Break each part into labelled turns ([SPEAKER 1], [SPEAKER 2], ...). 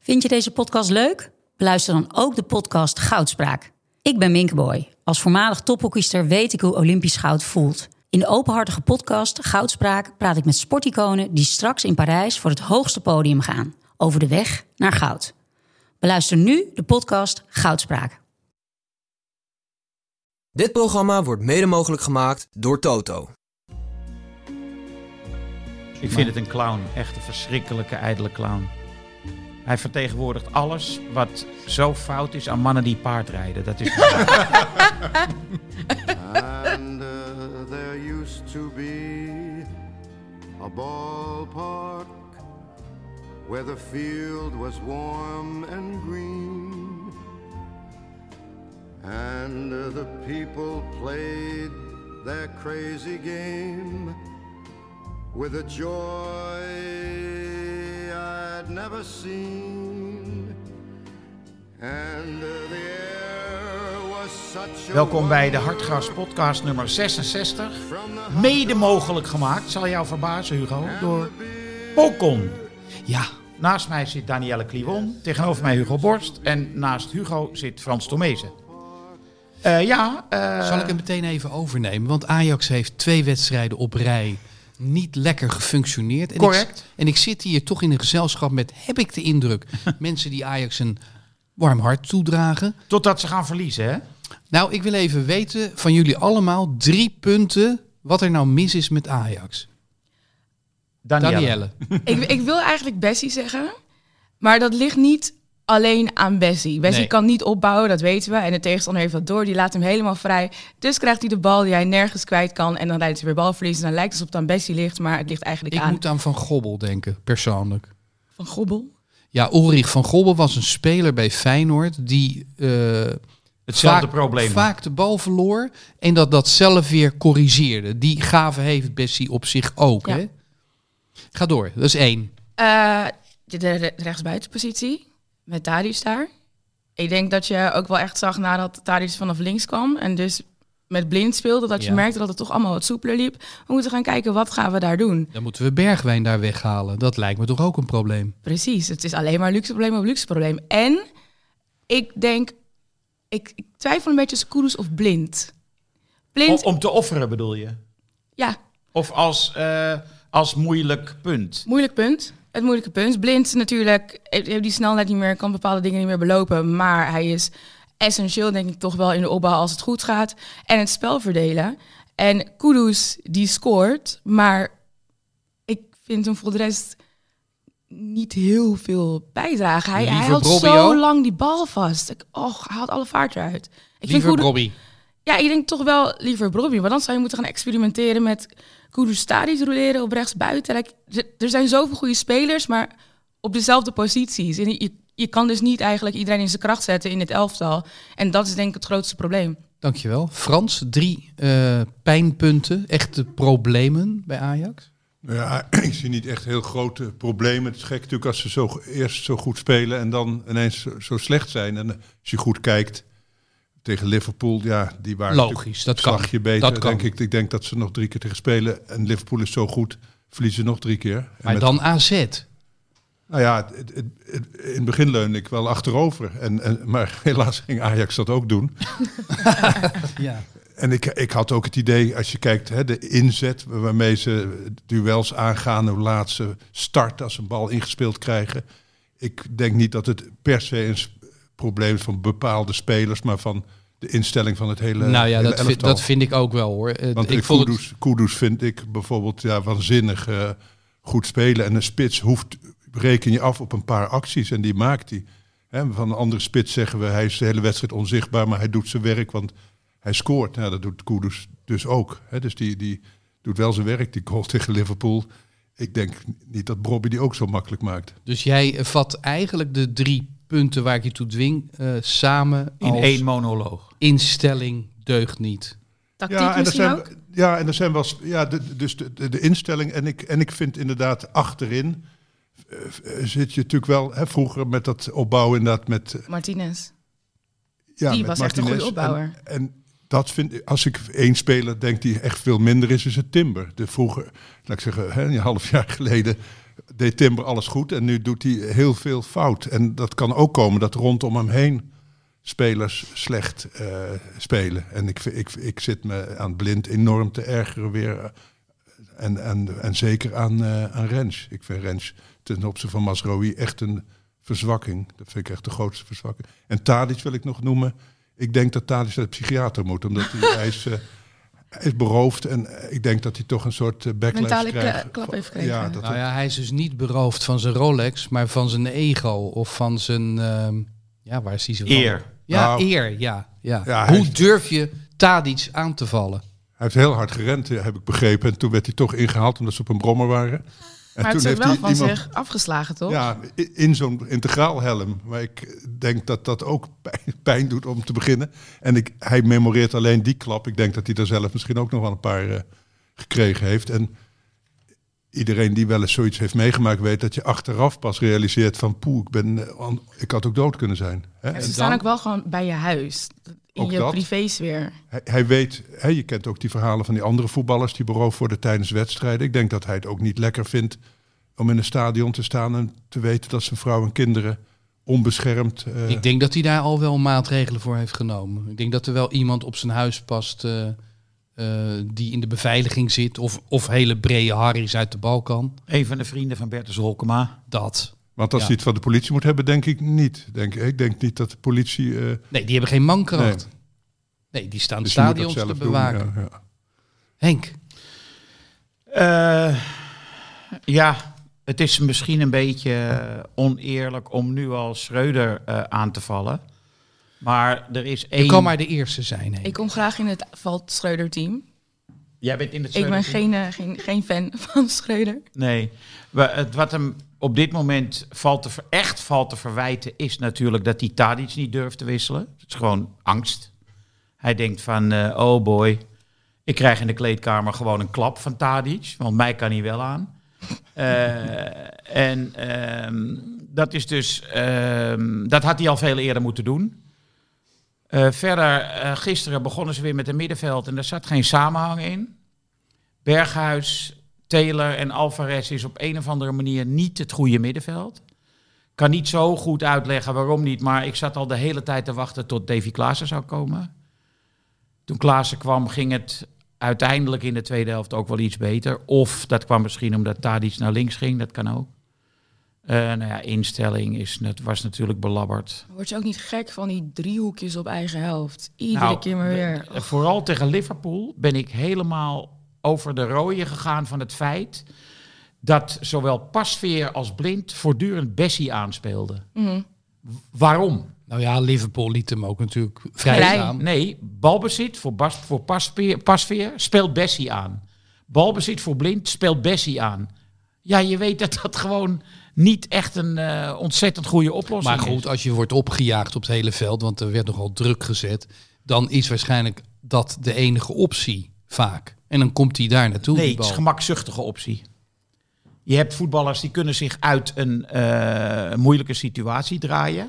[SPEAKER 1] Vind je deze podcast leuk? Beluister dan ook de podcast Goudspraak. Ik ben Minke Boy. Als voormalig tophockeyster weet ik hoe Olympisch goud voelt. In de openhartige podcast Goudspraak praat ik met sporticonen die straks in Parijs voor het hoogste podium gaan. Over de weg naar goud. Beluister nu de podcast Goudspraak.
[SPEAKER 2] Dit programma wordt mede mogelijk gemaakt door Toto.
[SPEAKER 3] Ik vind het een clown. Echt een verschrikkelijke, ijdele clown. Hij vertegenwoordigt alles wat zo fout is aan mannen die paardrijden. Dat is
[SPEAKER 4] And uh, there used to be a ballpark where the field was warm and green. And uh, the people played their crazy game with a joy I'd never seen. And uh, the air was such a
[SPEAKER 3] Welkom bij de Hartgras podcast nummer 66. Mede mogelijk gemaakt, zal jou verbazen Hugo, door Pocon. Ja, naast mij zit Danielle Clivon, tegenover mij Hugo Borst en naast Hugo zit Frans Tomezen. Eh, ja, eh,
[SPEAKER 5] Zal ik hem meteen even overnemen? Want Ajax heeft twee wedstrijden op rij niet lekker gefunctioneerd. En
[SPEAKER 3] Correct.
[SPEAKER 5] Ik, en ik zit hier toch in een gezelschap met, heb ik de indruk, mensen die Ajax een warm hart toedragen.
[SPEAKER 3] totdat ze gaan verliezen hè?
[SPEAKER 5] Nou, ik wil even weten van jullie allemaal drie punten wat er nou mis is met Ajax.
[SPEAKER 3] Danielle.
[SPEAKER 5] Danielle.
[SPEAKER 6] ik, ik wil eigenlijk Bessie zeggen, maar dat ligt niet alleen aan Bessie. Bessie
[SPEAKER 5] Nee.
[SPEAKER 6] kan niet opbouwen, dat weten we. En de tegenstander heeft dat door, die laat hem helemaal vrij. Dus krijgt hij de bal die hij nergens kwijt kan. En dan rijdt hij weer balverlies. En dan lijkt het alsof het aan Bessie ligt, maar het ligt eigenlijk
[SPEAKER 5] Ik
[SPEAKER 6] aan
[SPEAKER 5] moet aan Van Gobbel denken, persoonlijk.
[SPEAKER 6] Van Gobbel.
[SPEAKER 5] Ja, Ulrich van Gobbel was een speler bij Feyenoord die eh,
[SPEAKER 3] Hetzelfde
[SPEAKER 5] vaak,
[SPEAKER 3] probleem.
[SPEAKER 5] Vaak de bal verloor en dat dat zelf weer corrigeerde. Die gave heeft Bessie op zich ook.
[SPEAKER 6] Ja.
[SPEAKER 5] Hè? Ga door, dat is één.
[SPEAKER 6] Eh, de, de re- rechtsbuitenpositie met Darius daar. Ik denk dat je ook wel echt zag nadat Darius vanaf links kwam. En dus met blind speelde, dat je
[SPEAKER 5] Ja.
[SPEAKER 6] merkte dat het toch allemaal wat soepeler liep. We moeten gaan kijken, wat gaan we daar doen?
[SPEAKER 5] Dan moeten we Bergwijn daar weghalen. Dat lijkt me toch ook een probleem.
[SPEAKER 6] Precies, het is alleen maar luxe probleem op luxe probleem. En ik denk, ik, ik twijfel een beetje tussen Koeders of Blind.
[SPEAKER 3] O-
[SPEAKER 6] Blind,
[SPEAKER 3] Om te offeren bedoel je?
[SPEAKER 6] ja,
[SPEAKER 3] Of als, eh, als moeilijk punt?
[SPEAKER 6] moeilijk punt. Het moeilijke punt. Blind natuurlijk, heeft heeft die snelheid niet meer, kan bepaalde dingen niet meer belopen. Maar hij is essentieel denk ik toch wel in de opbouw als het goed gaat. En het spel verdelen. En Kudus die scoort, maar ik vind hem voor de rest niet heel veel bijdrage. Hij, hij
[SPEAKER 5] Liever
[SPEAKER 6] houdt zo
[SPEAKER 5] Brobbio?
[SPEAKER 6] lang die bal vast. Ik, och, hij haalt alle vaart eruit. Ik
[SPEAKER 5] Liever
[SPEAKER 6] Kudu-
[SPEAKER 5] Robbie.
[SPEAKER 6] Ja, ik denk toch wel liever Brobbey. Maar dan zou je moeten gaan experimenteren met Kudustadis roleren op rechtsbuiten. Like, d- er zijn zoveel goede spelers, maar op dezelfde posities. En je, je kan dus niet eigenlijk iedereen in zijn kracht zetten in het elftal. En dat is denk ik het grootste probleem.
[SPEAKER 5] Dankjewel. Frans, drie eh, pijnpunten, echte problemen bij Ajax.
[SPEAKER 7] Nou Ja, ik zie niet echt heel grote problemen. Het is gek natuurlijk als ze zo, eerst zo goed spelen en dan ineens zo, zo slecht zijn. En eh, als je goed kijkt tegen Liverpool, ja, die waren
[SPEAKER 5] Logisch,
[SPEAKER 7] natuurlijk
[SPEAKER 5] dat
[SPEAKER 7] een
[SPEAKER 5] kan.
[SPEAKER 7] slagje beter.
[SPEAKER 5] Dat kan.
[SPEAKER 7] Denk ik, ik denk dat ze nog drie keer tegen spelen en Liverpool is zo goed, verliezen nog drie keer. En
[SPEAKER 5] Maar
[SPEAKER 7] met-
[SPEAKER 5] dan AZ.
[SPEAKER 7] Nou ja, het, het- het- in het begin leunde ik wel achterover. En, en, maar helaas ging Ajax dat ook doen.
[SPEAKER 5] Ja.
[SPEAKER 7] En ik, ik had ook het idee, als je kijkt, hè, de inzet waarmee ze duels aangaan, hoe laat ze start als ze een bal ingespeeld krijgen. Ik denk niet dat het per se een s- probleem is van bepaalde spelers, maar van de instelling van het hele,
[SPEAKER 5] Nou ja,
[SPEAKER 7] hele
[SPEAKER 5] dat vind,
[SPEAKER 7] elftal.
[SPEAKER 5] dat vind ik ook wel hoor. Eh,
[SPEAKER 7] Want
[SPEAKER 5] ik
[SPEAKER 7] ik
[SPEAKER 5] vond het-
[SPEAKER 7] Kudus, Kudus vind ik bijvoorbeeld ja, waanzinnig eh, goed spelen. En een spits hoeft, reken je af op een paar acties en die maakt hij. Hè, van een andere spits zeggen we, hij is de hele wedstrijd onzichtbaar, maar hij doet zijn werk, want hij scoort. Nou, dat doet Kudus dus ook. Hè. Dus die, die doet wel zijn werk, die goal tegen Liverpool. Ik denk niet dat Bobby die ook zo makkelijk maakt.
[SPEAKER 5] Dus jij eh, vat eigenlijk de drie punten waar ik je toe dwing eh, samen
[SPEAKER 3] In
[SPEAKER 5] als
[SPEAKER 3] één monoloog.
[SPEAKER 5] instelling deugt niet.
[SPEAKER 6] Tactiek
[SPEAKER 7] en er
[SPEAKER 6] misschien
[SPEAKER 7] zijn,
[SPEAKER 6] ook?
[SPEAKER 7] Ja, en er zijn wel. sp- Ja, de, dus de, de, de instelling. En ik, en ik vind inderdaad achterin. eh, eh, zit je natuurlijk wel. Hè, vroeger met dat opbouwen, inderdaad. Met, eh,
[SPEAKER 6] Martinez.
[SPEAKER 7] ja,
[SPEAKER 6] Die
[SPEAKER 7] met
[SPEAKER 6] was echt een
[SPEAKER 7] Martinez.
[SPEAKER 6] goede opbouwer.
[SPEAKER 7] En, en dat vind ik. Als ik één speler denk die echt veel minder is, is het Timber. De vroeger, laat ik zeggen, hè, een half jaar geleden. deed Timber alles goed en nu doet hij heel veel fout. En dat kan ook komen dat rondom hem heen spelers slecht eh, spelen. En ik, ik, ik zit me aan blind enorm te ergeren weer. eh, En, en, en zeker aan, eh aan Rens. Ik vind Rens ten opzichte van Masroi echt een verzwakking. Dat vind ik echt de grootste verzwakking. En Tadic wil ik nog noemen. Ik denk dat Tadic naar de psychiater moet. Omdat hij, hij is, eh, hij is beroofd. En eh, ik denk dat hij toch een soort eh, backlash
[SPEAKER 6] Mentale kla-
[SPEAKER 7] krijgt.
[SPEAKER 6] klap heeft
[SPEAKER 7] Van-
[SPEAKER 6] gekregen.
[SPEAKER 7] Ja, dat
[SPEAKER 5] Nou ja, hij is dus niet beroofd van zijn Rolex, maar van zijn ego of van zijn... ehm, ja, waar is hij zo van?
[SPEAKER 3] Eer.
[SPEAKER 5] Ja,
[SPEAKER 7] Nou.
[SPEAKER 5] eer, ja. ja.
[SPEAKER 7] Ja, hij
[SPEAKER 5] Hoe
[SPEAKER 7] is-
[SPEAKER 5] durf je Tadic aan te vallen?
[SPEAKER 7] Hij heeft heel hard gerend, eh, heb ik begrepen. En toen werd hij toch ingehaald omdat ze op een brommer waren. En
[SPEAKER 6] Maar
[SPEAKER 7] toen
[SPEAKER 6] het is ook wel van
[SPEAKER 7] hij
[SPEAKER 6] zich afgeslagen, toch?
[SPEAKER 7] Ja, i- in zo'n integraalhelm. Maar ik denk dat dat ook pijn, pijn doet om te beginnen. En ik, hij memoreert alleen die klap. Ik denk dat hij er zelf misschien ook nog wel een paar eh, gekregen heeft. En iedereen die wel eens zoiets heeft meegemaakt weet dat je achteraf pas realiseert van poeh, ik, ben, eh, an- ik had ook dood kunnen zijn. Hè?
[SPEAKER 6] En
[SPEAKER 7] En
[SPEAKER 6] ze
[SPEAKER 7] dan-
[SPEAKER 6] staan ook wel gewoon bij je huis. In
[SPEAKER 7] Ook
[SPEAKER 6] je
[SPEAKER 7] dat.
[SPEAKER 6] privésfeer.
[SPEAKER 7] Hij, hij weet, hè, je kent ook die verhalen van die andere voetballers die beroofd worden tijdens wedstrijden. Ik denk dat hij het ook niet lekker vindt om in een stadion te staan en te weten dat zijn vrouw en kinderen onbeschermd. eh,
[SPEAKER 5] Ik denk dat hij daar al wel maatregelen voor heeft genomen. Ik denk dat er wel iemand op zijn huis past eh, eh, die in de beveiliging zit. Of, of hele brede Harry's uit de Balkan.
[SPEAKER 3] Een van de vrienden van Bertus Holkema.
[SPEAKER 5] Dat.
[SPEAKER 7] want als
[SPEAKER 5] ja.
[SPEAKER 7] hij het van de politie moet hebben, denk ik niet. Denk, ik denk niet dat de politie. eh,
[SPEAKER 5] Nee, die hebben geen mankracht. Nee, die staan
[SPEAKER 7] dus je moet dat
[SPEAKER 5] stadions te
[SPEAKER 7] zelf
[SPEAKER 5] bewaken.
[SPEAKER 7] Doen, ja, ja.
[SPEAKER 5] Henk,
[SPEAKER 3] Eh, ja, het is misschien een beetje eh, oneerlijk om nu al Schreuder eh, aan te vallen. Maar er is één...
[SPEAKER 5] je kan maar de eerste zijn. Henk.
[SPEAKER 6] Ik kom graag in het valt Schreuder-team.
[SPEAKER 3] Jij bent in het
[SPEAKER 6] Ik ben
[SPEAKER 3] Schreuder-team?
[SPEAKER 6] geen, eh, geen, geen fan van Schreuder.
[SPEAKER 3] Nee, We- het, wat hem op dit moment valt te ver- echt valt te verwijten is natuurlijk dat hij Tadic niet durft te wisselen. Het is gewoon angst. Hij denkt van, eh, oh boy, ik krijg in de kleedkamer gewoon een klap van Tadic, want mij kan hij wel aan. Eh, en ehm, dat is dus, ehm, dat had hij al veel eerder moeten doen. Eh, verder, eh, gisteren begonnen ze weer met een middenveld en daar zat geen samenhang in. Berghuis, Taylor en Alvarez is op een of andere manier niet het goede middenveld. Kan niet zo goed uitleggen waarom niet, maar ik zat al de hele tijd te wachten tot Davy Klaassen zou komen. Toen Klaassen kwam, ging het uiteindelijk in de tweede helft ook wel iets beter. Of dat kwam misschien omdat Tadic naar links ging, dat kan ook. Eh, nou ja, instelling is, net- was natuurlijk belabberd.
[SPEAKER 6] Word je ook niet gek van die driehoekjes op eigen helft? Iedere
[SPEAKER 3] Nou,
[SPEAKER 6] keer maar weer.
[SPEAKER 3] Eh, Vooral tegen Liverpool ben ik helemaal over de rode gegaan van het feit dat zowel Pasveer als Blind voortdurend Bessie aanspeelden.
[SPEAKER 6] Mhm.
[SPEAKER 3] Waarom?
[SPEAKER 5] Nou ja, Liverpool liet hem ook natuurlijk vrij
[SPEAKER 6] Vrij.
[SPEAKER 5] staan.
[SPEAKER 3] Nee, balbezit voor, Bas, voor Pasveer, Pasveer speelt Bessie aan. Balbezit voor Blind speelt Bessie aan. Ja, je weet dat dat gewoon niet echt een eh, ontzettend goede oplossing
[SPEAKER 5] Maar goed,
[SPEAKER 3] is.
[SPEAKER 5] als je wordt opgejaagd op het hele veld, want er werd nogal druk gezet, dan is waarschijnlijk dat de enige optie vaak. En dan komt hij daar naartoe.
[SPEAKER 3] Nee,
[SPEAKER 5] die
[SPEAKER 3] het
[SPEAKER 5] bal.
[SPEAKER 3] is gemakzuchtige optie. Je hebt voetballers die kunnen zich uit een eh, moeilijke situatie draaien.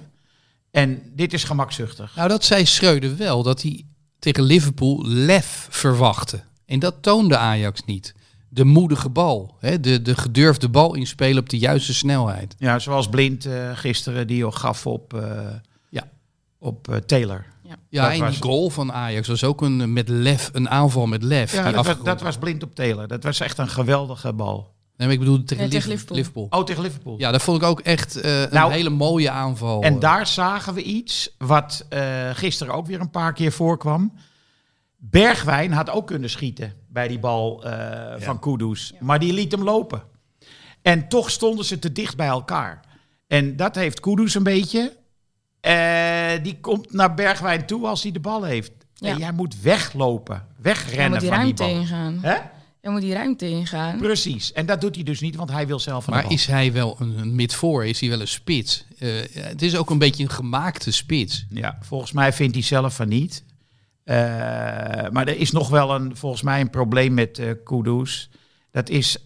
[SPEAKER 3] En dit is gemakzuchtig.
[SPEAKER 5] Nou, dat zei Schreuder wel, dat hij tegen Liverpool lef verwachtte. En dat toonde Ajax niet. De moedige bal, hè, de, de gedurfde bal inspelen op de juiste snelheid.
[SPEAKER 3] Ja, zoals Blind eh, gisteren die al gaf op, eh,
[SPEAKER 5] Ja.
[SPEAKER 3] op eh, Taylor.
[SPEAKER 5] Ja,
[SPEAKER 3] Dat
[SPEAKER 5] en
[SPEAKER 3] was-
[SPEAKER 5] die goal van Ajax was ook een, eh, met lef, een aanval met lef.
[SPEAKER 3] Ja,
[SPEAKER 5] die
[SPEAKER 3] dat, was,
[SPEAKER 5] afgerond-
[SPEAKER 3] dat was Blind op Taylor. Dat was echt een geweldige bal.
[SPEAKER 5] Nee, maar ik bedoel tegen,
[SPEAKER 6] Nee, tegen
[SPEAKER 5] Liv-
[SPEAKER 6] Liverpool.
[SPEAKER 5] Liverpool.
[SPEAKER 3] Oh, tegen Liverpool.
[SPEAKER 5] Ja, dat vond ik ook echt eh, een
[SPEAKER 3] Nou,
[SPEAKER 5] hele mooie aanval.
[SPEAKER 3] En daar zagen we iets wat eh, gisteren ook weer een paar keer voorkwam. Bergwijn had ook kunnen schieten bij die bal eh, van Kudus. Maar die liet hem lopen. En toch stonden ze te dicht bij elkaar. En dat heeft Kudus een beetje. Eh, die komt naar Bergwijn toe als hij de bal heeft.
[SPEAKER 6] Ja.
[SPEAKER 3] En jij moet weglopen,
[SPEAKER 6] Je moet
[SPEAKER 3] wegrennen
[SPEAKER 6] die
[SPEAKER 3] van die
[SPEAKER 6] ruimte
[SPEAKER 3] bal.
[SPEAKER 6] ingaan.
[SPEAKER 3] Hè?
[SPEAKER 6] Je moet die ruimte ingaan.
[SPEAKER 3] Precies. En dat doet hij dus niet, want hij wil zelf aan de
[SPEAKER 5] Maar
[SPEAKER 3] bal.
[SPEAKER 5] is hij wel een, een mid-voor? Is hij wel een spits? Eh, het is ook een beetje een gemaakte spits.
[SPEAKER 3] Ja, volgens mij vindt hij zelf van niet. Eh, maar er is nog wel een, volgens mij een probleem met eh Kudus. Dat is,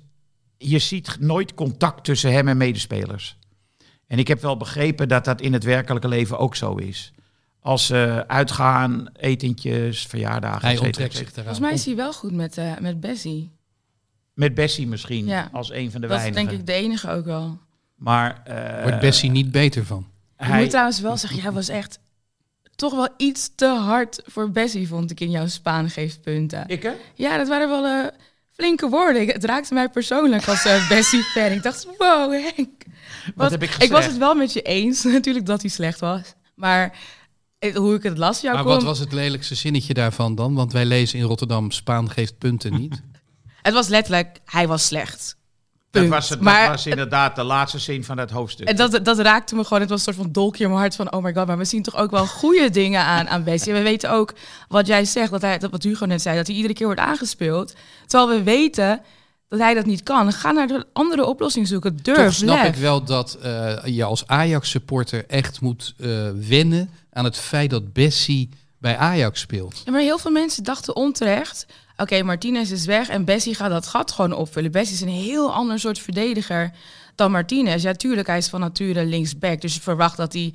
[SPEAKER 3] je ziet nooit contact tussen hem en medespelers. En ik heb wel begrepen dat dat in het werkelijke leven ook zo is. Als ze uitgaan, etentjes, verjaardagen. et
[SPEAKER 5] Hij
[SPEAKER 3] cetera,
[SPEAKER 5] onttrekt
[SPEAKER 3] et
[SPEAKER 5] zich daaraan.
[SPEAKER 6] Volgens mij is hij wel goed met, eh, met Bessie.
[SPEAKER 3] Met Bessie misschien,
[SPEAKER 6] Ja.
[SPEAKER 3] als een van de
[SPEAKER 6] Dat is
[SPEAKER 3] weinigen.
[SPEAKER 6] denk ik de enige ook wel.
[SPEAKER 3] Maar eh,
[SPEAKER 5] Wordt Bessie niet beter van.
[SPEAKER 6] Ik
[SPEAKER 3] hij,
[SPEAKER 6] moet trouwens wel zeggen, jij was echt toch wel iets te hard voor Bessie, vond ik in jouw Spaan geeft punten.
[SPEAKER 3] ik hè?
[SPEAKER 6] Ja, dat waren wel eh, flinke woorden. Ik- het raakte mij persoonlijk als eh, Bessie-fan. Ik dacht, wow, Henk.
[SPEAKER 3] Wat heb ik gezegd?
[SPEAKER 6] ik was het wel met je eens natuurlijk dat hij slecht was. Maar het- hoe ik het las, jouw
[SPEAKER 5] Maar
[SPEAKER 6] column-
[SPEAKER 5] wat was het lelijkste zinnetje daarvan dan? Want wij lezen in Rotterdam, Spaan geeft punten niet.
[SPEAKER 6] het was letterlijk, hij was slecht.
[SPEAKER 3] dat
[SPEAKER 6] punt.
[SPEAKER 3] was, het,
[SPEAKER 6] Maar-
[SPEAKER 3] dat was inderdaad de laatste zin van dat hoofdstuk.
[SPEAKER 6] En dat, dat raakte me gewoon. Het was een soort van dolkje in mijn hart van... oh my god, maar we zien toch ook wel goede dingen aan, aan Bessie. En we weten ook wat jij zegt, dat hij, dat wat Hugo net zei... dat hij iedere keer wordt aangespeeld. Terwijl we weten dat hij dat niet kan. Ga naar de andere oplossing zoeken. Durf,
[SPEAKER 5] Toch snap
[SPEAKER 6] lef.
[SPEAKER 5] ik wel dat eh, je als Ajax-supporter echt moet eh, wennen aan het feit dat Bessie bij Ajax speelt.
[SPEAKER 6] Ja, maar heel veel mensen dachten onterecht... oké, Martinez is weg en Bessie gaat dat gat gewoon opvullen. Bessie is een heel ander soort verdediger dan Martinez. Ja, tuurlijk, hij is van nature linksback. Dus je verwacht dat hij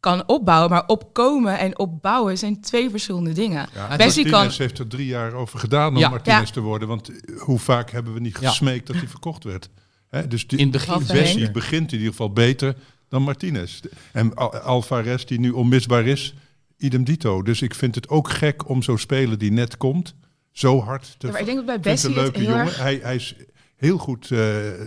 [SPEAKER 6] kan opbouwen. Maar opkomen en opbouwen zijn twee verschillende dingen.
[SPEAKER 5] het
[SPEAKER 6] Bessie kan...
[SPEAKER 7] Martinez heeft er drie jaar over gedaan om
[SPEAKER 5] Ja.
[SPEAKER 7] Martinez
[SPEAKER 6] Ja.
[SPEAKER 7] te worden. Want eh, hoe vaak hebben we niet
[SPEAKER 5] Ja.
[SPEAKER 7] gesmeekt dat hij verkocht werd? Hè, dus die,
[SPEAKER 5] In het begin.
[SPEAKER 6] Wat
[SPEAKER 7] Bessie
[SPEAKER 5] zeker.
[SPEAKER 7] begint in ieder geval beter dan Martinez. En Al- Alvarez, die nu onmisbaar is, idem dito. Dus ik vind het ook gek om zo'n speler die net komt, zo hard te...
[SPEAKER 6] Ja, maar ik denk dat bij
[SPEAKER 7] Ik vind het
[SPEAKER 6] Bessie
[SPEAKER 7] een
[SPEAKER 6] het heel
[SPEAKER 7] leuke jongen.
[SPEAKER 6] erg...
[SPEAKER 7] Hij, hij is heel goed, eh,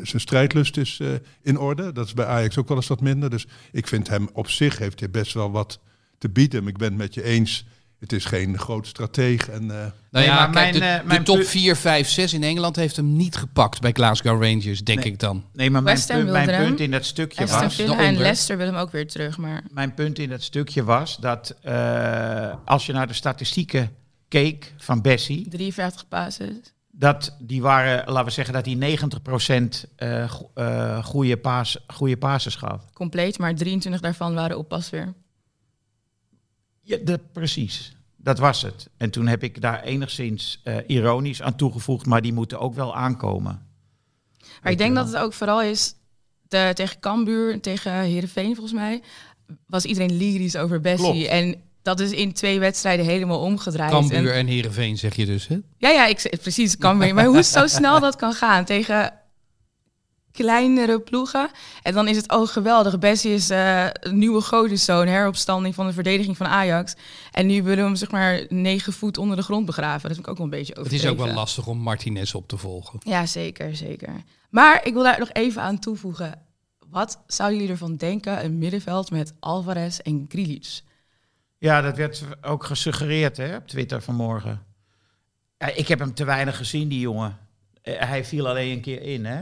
[SPEAKER 7] zijn strijdlust is eh, in orde. Dat is bij Ajax ook wel eens wat minder. Dus ik vind hem op zich heeft hij best wel wat te bieden. Maar Ik ben het met je eens. Het is geen groot strateeg. En, eh,
[SPEAKER 5] Nou
[SPEAKER 3] Nee,
[SPEAKER 5] ja,
[SPEAKER 3] maar
[SPEAKER 5] kijk, de,
[SPEAKER 3] mijn, eh,
[SPEAKER 5] de
[SPEAKER 3] mijn
[SPEAKER 5] top
[SPEAKER 3] pu-
[SPEAKER 5] 4, 5, 6 in Engeland heeft hem niet gepakt bij Glasgow Rangers, denk
[SPEAKER 3] Nee.
[SPEAKER 5] ik dan.
[SPEAKER 3] nee, maar mijn,
[SPEAKER 6] West Ham
[SPEAKER 3] punt, mijn
[SPEAKER 6] wilde hem.
[SPEAKER 3] punt in dat stukje
[SPEAKER 6] Aston
[SPEAKER 3] was...
[SPEAKER 5] Villa
[SPEAKER 6] Villa en
[SPEAKER 5] daaronder.
[SPEAKER 6] Leicester willen hem ook weer terug, maar...
[SPEAKER 3] Mijn punt in dat stukje was dat eh, als je naar de statistieken keek van Bessie...
[SPEAKER 6] 53 basis.
[SPEAKER 3] dat die waren, laten we zeggen, dat hij 90% eh go- eh, goede, paas, goede passes gaf.
[SPEAKER 6] Compleet, maar 23 daarvan waren oppas weer.
[SPEAKER 3] Ja, dat, precies. Dat was het. En toen heb ik daar enigszins eh, ironisch aan toegevoegd, maar die moeten ook wel aankomen.
[SPEAKER 6] Maar ik
[SPEAKER 3] je
[SPEAKER 6] denk
[SPEAKER 3] wel.
[SPEAKER 6] dat het ook vooral is... De, tegen Cambuur, en tegen Heerenveen volgens mij... was iedereen lyrisch over Bessie.
[SPEAKER 3] Klopt.
[SPEAKER 6] En dat is in twee wedstrijden helemaal omgedraaid.
[SPEAKER 5] Cambuur
[SPEAKER 6] En,
[SPEAKER 5] en Heerenveen zeg je dus, hè?
[SPEAKER 6] ja, ja, ik, zeg- precies, Cambuur. maar hoe zo snel dat kan gaan tegen kleinere ploegen. En dan is het, oh geweldig, Bessie is eh, een nieuwe godenzoon... heropstanding van de verdediging van Ajax. En nu willen we hem zeg maar negen voet onder de grond begraven. Dat vind ik ook wel een beetje
[SPEAKER 5] Het
[SPEAKER 6] overdreven.
[SPEAKER 5] is ook wel lastig om Martinez op te volgen.
[SPEAKER 6] Ja, zeker, zeker. Maar ik wil daar nog even aan toevoegen. Wat zouden jullie ervan denken, een middenveld met Alvarez en Grealish?
[SPEAKER 3] Ja, dat werd ook gesuggereerd hè, op Twitter vanmorgen. Ja, ik heb hem te weinig gezien, die jongen. Eh, hij viel alleen een keer in, hè?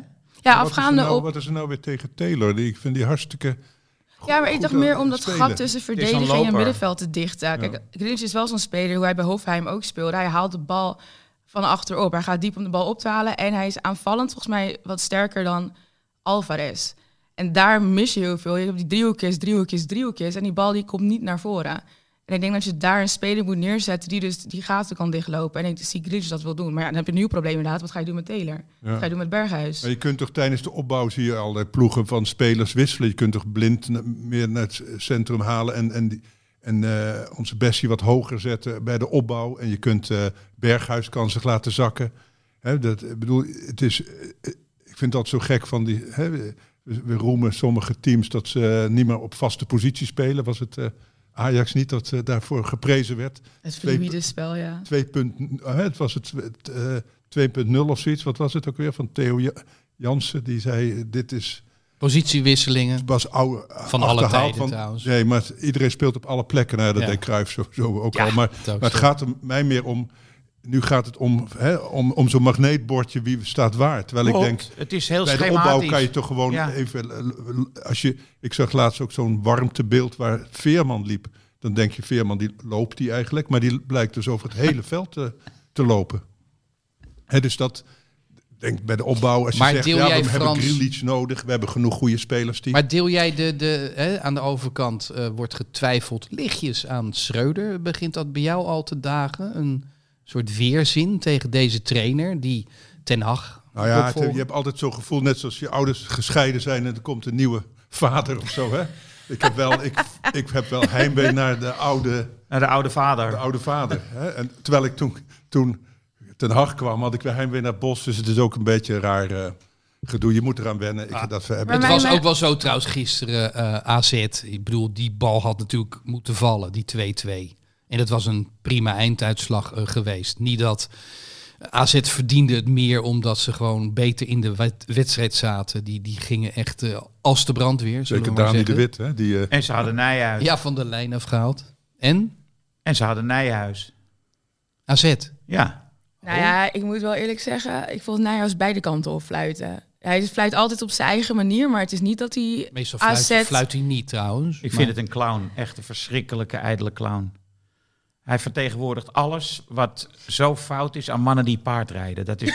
[SPEAKER 6] Ja,
[SPEAKER 7] wat is er
[SPEAKER 6] afgaande
[SPEAKER 7] nou-
[SPEAKER 6] op...
[SPEAKER 7] Wat is er nou weer tegen Taylor? Die, ik vind die hartstikke... go-
[SPEAKER 6] Ja, maar ik
[SPEAKER 7] goed
[SPEAKER 6] dacht
[SPEAKER 7] aan
[SPEAKER 6] meer
[SPEAKER 7] het
[SPEAKER 6] om dat
[SPEAKER 7] spelen.
[SPEAKER 6] gat tussen
[SPEAKER 3] is een
[SPEAKER 6] verdediging en
[SPEAKER 3] loper.
[SPEAKER 6] middenveld te dichten. Kijk, Grealish is wel zo'n speler hoe hij bij Hofheim ook speelde. Hij haalt de bal van achterop. Hij gaat diep om de bal op te halen. En hij is aanvallend volgens mij wat sterker dan Alvarez. En daar mis je heel veel. Je hebt die driehoekjes, driehoekjes, driehoekjes. En die bal die komt niet naar voren. En ik denk dat je daar een speler moet neerzetten die dus die gaten kan dichtlopen. En ik zie Grealish dat wil doen. Maar ja, dan heb je een nieuw probleem inderdaad. Wat ga je doen met Taylor? Wat ga je doen met Berghuis?
[SPEAKER 7] Maar je kunt toch tijdens de opbouw zie je allerlei ploegen van spelers wisselen. Je kunt toch blind na- meer naar het centrum halen en, en, die- en eh, onze Bessie wat hoger zetten bij de opbouw. En je kunt eh, Berghuis kan zich laten zakken. Hè, dat, ik bedoel, het is, eh, ik vind dat zo gek van die. Hè, we, we roemen sommige teams dat ze eh, niet meer op vaste positie spelen. Was het eh, Ajax niet dat eh, daarvoor geprezen werd?
[SPEAKER 6] Het
[SPEAKER 7] Twee-
[SPEAKER 6] fluïde spel, ja.
[SPEAKER 7] 2.0, eh, het was het, het, eh, 2.0 of zoiets. Wat was het ook weer van Theo Ja- Jansen? Die zei, eh, dit is
[SPEAKER 5] Positiewisselingen.
[SPEAKER 7] was oude
[SPEAKER 5] Van alle
[SPEAKER 7] achterhaald
[SPEAKER 5] tijden trouwens.
[SPEAKER 7] Nee, maar het- iedereen speelt op alle plekken. Nou, ja, dat
[SPEAKER 5] Ja.
[SPEAKER 7] deed Cruijff sowieso ook
[SPEAKER 5] Ja,
[SPEAKER 7] al. Maar,
[SPEAKER 5] dat
[SPEAKER 7] maar
[SPEAKER 5] ook
[SPEAKER 7] het
[SPEAKER 5] zo.
[SPEAKER 7] gaat er mij meer om... Nu gaat het om, hè, om, om zo'n magneetbordje wie staat waar. Terwijl ik denk,
[SPEAKER 3] Klopt. het is heel
[SPEAKER 7] bij de opbouw
[SPEAKER 3] schematisch.
[SPEAKER 7] kan je toch gewoon
[SPEAKER 3] Ja.
[SPEAKER 7] even... eh, l- l- Als je, ik zag laatst ook zo'n warmtebeeld waar Veerman liep. Dan denk je, Veerman die loopt die eigenlijk. Maar die blijkt dus over het hele veld te, te lopen. Hè, dus dat... ik Denk bij de opbouw, als je
[SPEAKER 5] Maar
[SPEAKER 7] zegt,
[SPEAKER 5] deel
[SPEAKER 7] ja,
[SPEAKER 5] jij,
[SPEAKER 7] we hebben
[SPEAKER 5] Frans-
[SPEAKER 7] Grealish nodig, we hebben genoeg goede spelers die...
[SPEAKER 5] Maar deel jij de, de hè, aan de overkant eh, wordt getwijfeld lichtjes aan Schreuder? Begint dat bij jou al te dagen? Een soort weerzin tegen deze trainer die Ten Hag
[SPEAKER 7] Nou ja, het-
[SPEAKER 5] opvolgt?
[SPEAKER 7] je hebt altijd zo'n gevoel, net zoals je ouders gescheiden zijn en er komt een nieuwe vader of zo. Hè? Ik, heb wel, ik, ik heb wel heimwee naar de oude,
[SPEAKER 3] Naar de oude vader.
[SPEAKER 7] de oude vader. Hè? En terwijl ik toen, toen Ten Hag kwam, had ik weer heimwee naar het Bos. Dus het is ook een beetje een raar eh, gedoe. Je moet eraan wennen. Ik
[SPEAKER 3] Ah.
[SPEAKER 7] ga dat ver hebben.
[SPEAKER 5] Het
[SPEAKER 6] Maar
[SPEAKER 5] was
[SPEAKER 6] wij-
[SPEAKER 5] ook wel zo trouwens gisteren eh, AZ. Ik bedoel, die bal had natuurlijk moeten vallen, die 2-2. En dat was een prima einduitslag eh, geweest. Niet dat AZ verdiende het meer omdat ze gewoon beter in de wet- wedstrijd zaten. Die, die gingen echt eh, als de brandweer, zullen
[SPEAKER 7] Zeker
[SPEAKER 5] we maar
[SPEAKER 7] Dani de
[SPEAKER 5] zeggen.
[SPEAKER 7] Wit. Hè, die, eh,
[SPEAKER 3] En ze hadden Nijhuis.
[SPEAKER 5] Ja, van de lijn afgehaald. En
[SPEAKER 3] En ze hadden Nijhuis.
[SPEAKER 5] AZ.
[SPEAKER 3] Ja.
[SPEAKER 6] Nou ja, ik moet wel eerlijk zeggen, ik vond Nijhuis beide kanten op fluiten. Hij fluit altijd op zijn eigen manier, maar het is niet dat hij
[SPEAKER 5] Meestal fluit,
[SPEAKER 6] AZ...
[SPEAKER 5] fluit hij niet trouwens.
[SPEAKER 3] Ik
[SPEAKER 5] Maar-
[SPEAKER 3] vind het een clown. Echt een verschrikkelijke, ijdele clown. Hij vertegenwoordigt alles wat zo fout is aan mannen die paardrijden. Dat is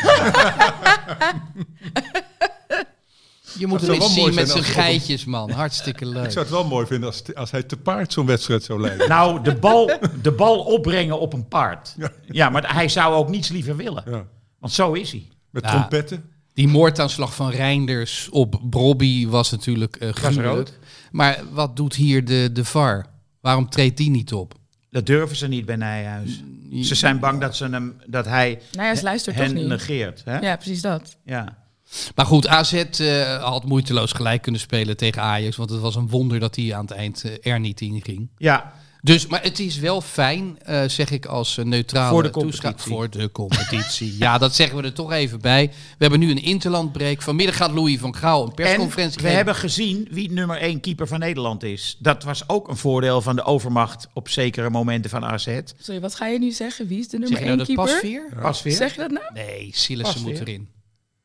[SPEAKER 5] Je moet
[SPEAKER 7] Het
[SPEAKER 5] hem
[SPEAKER 7] zou
[SPEAKER 5] eens
[SPEAKER 7] wel mooi
[SPEAKER 5] zien met
[SPEAKER 7] zijn
[SPEAKER 5] zijn
[SPEAKER 7] als-
[SPEAKER 5] geitjes, man. Hartstikke
[SPEAKER 7] ik zou
[SPEAKER 5] leuk.
[SPEAKER 7] het wel mooi vinden als, als hij te paard zo'n wedstrijd zou leiden.
[SPEAKER 3] Nou, de bal, de bal opbrengen op een paard. Ja, maar hij zou ook niets liever willen.
[SPEAKER 7] Ja.
[SPEAKER 3] Want zo is hij.
[SPEAKER 7] Met
[SPEAKER 5] Ja.
[SPEAKER 7] trompetten.
[SPEAKER 5] Die moordaanslag van Reinders op Brobby was natuurlijk eh gruwelijk.
[SPEAKER 3] rood.
[SPEAKER 5] Maar wat doet hier de, de VAR? Waarom treedt die niet op?
[SPEAKER 3] Dat durven ze niet bij Nijhuis. Ze zijn bang dat, ze hem, dat hij
[SPEAKER 6] Nijhuis luistert toch
[SPEAKER 3] hen
[SPEAKER 6] niet.
[SPEAKER 3] negeert. Hè?
[SPEAKER 6] Ja, precies dat.
[SPEAKER 3] Ja.
[SPEAKER 5] Maar goed, AZ eh, had moeiteloos gelijk kunnen spelen tegen Ajax. Want het was een wonder dat hij aan het eind eh, er niet in ging.
[SPEAKER 3] ja,
[SPEAKER 5] Dus, maar het is wel fijn, eh, zeg ik als eh, neutrale
[SPEAKER 3] Voor de
[SPEAKER 5] toeschouwer-
[SPEAKER 3] competitie.
[SPEAKER 5] Voor de competitie. ja, dat zeggen we er toch even bij. We hebben nu een interlandbreak. Vanmiddag gaat Louis van Gaal een
[SPEAKER 3] En
[SPEAKER 5] persconferentie
[SPEAKER 3] we
[SPEAKER 5] geven.
[SPEAKER 3] hebben gezien wie nummer één keeper van Nederland is. Dat was ook een voordeel van de overmacht op zekere momenten van AZ.
[SPEAKER 6] Sorry, wat ga je nu zeggen? Wie is de
[SPEAKER 5] Zeg
[SPEAKER 6] nummer
[SPEAKER 5] je nou
[SPEAKER 6] één
[SPEAKER 5] dat
[SPEAKER 6] keeper?
[SPEAKER 5] Pasveer?
[SPEAKER 3] Pasveer,
[SPEAKER 6] Zeg je dat nou?
[SPEAKER 5] Nee, Silissen
[SPEAKER 3] Pas
[SPEAKER 5] moet
[SPEAKER 3] weer.
[SPEAKER 5] erin.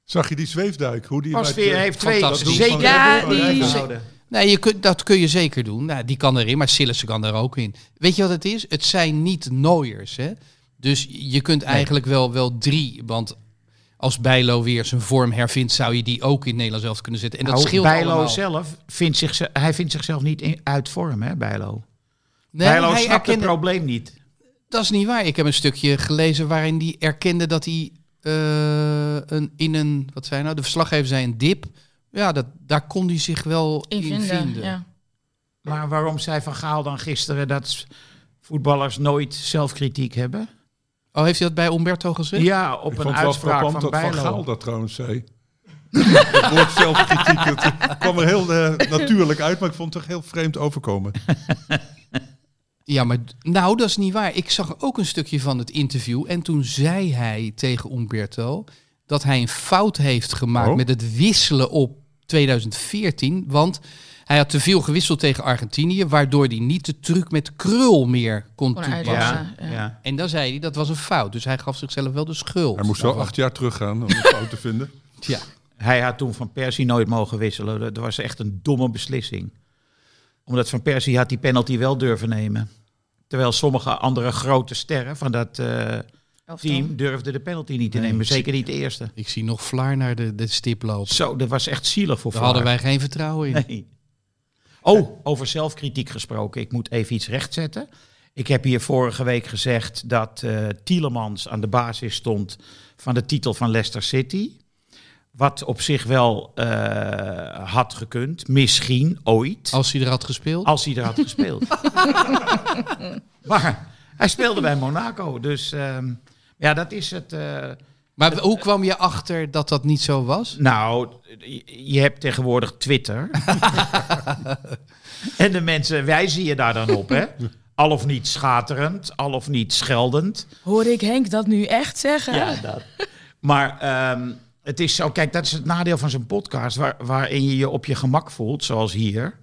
[SPEAKER 7] Zag je die zweefduik? Hoe die hem uit,
[SPEAKER 3] Pasveer
[SPEAKER 7] eh,
[SPEAKER 3] heeft twee
[SPEAKER 5] fantastisch.
[SPEAKER 3] zeker
[SPEAKER 6] Ja,
[SPEAKER 3] doelpunten Nou,
[SPEAKER 6] die-
[SPEAKER 3] bijgehouden.
[SPEAKER 5] Nee, je kunt, dat kun je zeker doen. Nou, die kan erin, maar Sillessen kan er ook in. Weet je wat het is? Het zijn niet nooiers. Hè? Dus je kunt eigenlijk wel, wel drie. Want als Bijlo weer zijn vorm hervindt, zou je die ook in Nederland zelf kunnen zetten. En dat
[SPEAKER 3] Nou,
[SPEAKER 5] scheelt
[SPEAKER 3] Bijlo
[SPEAKER 5] allemaal.
[SPEAKER 3] zelf vindt zich, hij vindt zichzelf niet in, uit vorm, hè, Bijlo.
[SPEAKER 5] nee,
[SPEAKER 3] Bijlo snapt het
[SPEAKER 5] erkende-
[SPEAKER 3] probleem niet.
[SPEAKER 5] Dat is niet waar. Ik heb een stukje gelezen waarin hij erkende dat hij eh, een, in een... Wat zei hij nou? De verslaggever zei een dip. Ja, dat, daar kon hij zich wel in vinden.
[SPEAKER 6] Invinden, ja.
[SPEAKER 3] Maar waarom zei Van Gaal dan gisteren dat voetballers nooit zelfkritiek hebben?
[SPEAKER 5] Oh, heeft hij dat bij Umberto gezegd?
[SPEAKER 3] Ja, op
[SPEAKER 7] Ik
[SPEAKER 3] een
[SPEAKER 7] vond het wel
[SPEAKER 3] uitspraak
[SPEAKER 7] frappant
[SPEAKER 3] van
[SPEAKER 7] dat Van
[SPEAKER 3] Bijlo.
[SPEAKER 7] Gaal dat trouwens zei. Het woord zelfkritiek, dat kwam er heel eh, natuurlijk uit, maar ik vond het toch heel vreemd overkomen.
[SPEAKER 5] Ja, maar d- nou, dat is niet waar. Ik zag ook een stukje van het interview. En toen zei hij tegen Umberto dat hij een fout heeft gemaakt
[SPEAKER 7] Oh.
[SPEAKER 5] met het wisselen op 2014. Want hij had te veel gewisseld tegen Argentinië, waardoor hij niet de truc met krul meer kon
[SPEAKER 6] Kon
[SPEAKER 5] toepassen.
[SPEAKER 6] uitleggen.
[SPEAKER 3] ja,
[SPEAKER 6] Ja.
[SPEAKER 3] ja.
[SPEAKER 5] En dan zei hij dat was een fout. Dus hij gaf zichzelf wel de schuld.
[SPEAKER 7] Hij moest wel
[SPEAKER 5] Daarvan.
[SPEAKER 7] acht jaar teruggaan om het fout te vinden.
[SPEAKER 5] Ja.
[SPEAKER 3] Hij had toen Van Persie nooit mogen wisselen. Dat was echt een domme beslissing. Omdat Van Persie had die penalty wel durven nemen. Terwijl sommige andere grote sterren van dat eh,
[SPEAKER 6] Elftal.
[SPEAKER 3] team durfden de penalty niet te
[SPEAKER 5] Nee,
[SPEAKER 3] nemen.
[SPEAKER 5] ik zie-
[SPEAKER 3] Zeker niet de eerste.
[SPEAKER 5] Ik zie nog Vlaar naar de, de stip lopen.
[SPEAKER 3] Zo, dat was echt zielig voor
[SPEAKER 5] Daar
[SPEAKER 3] Vlaar.
[SPEAKER 5] hadden wij geen vertrouwen in.
[SPEAKER 3] Nee. Oh, over zelfkritiek gesproken. Ik moet even iets rechtzetten. Ik heb hier vorige week gezegd dat eh Tielemans aan de basis stond van de titel van Leicester City. Wat op zich wel eh, had gekund, misschien ooit, als,
[SPEAKER 5] Als hij er had gespeeld.
[SPEAKER 3] hij er had gespeeld. maar hij speelde bij Monaco, dus ehm, ja, dat is het. eh,
[SPEAKER 5] Maar w- hoe kwam je achter dat dat niet zo was?
[SPEAKER 3] Nou, je- je hebt tegenwoordig Twitter. en de mensen wijzen je daar dan op, hè? Al of niet schaterend, al of niet scheldend.
[SPEAKER 6] Hoor ik Henk dat nu echt zeggen?
[SPEAKER 3] Ja, dat. Maar ehm, het is zo, kijk, dat is het nadeel van zo'n podcast... Waar, waarin je je op je gemak voelt, zoals hier.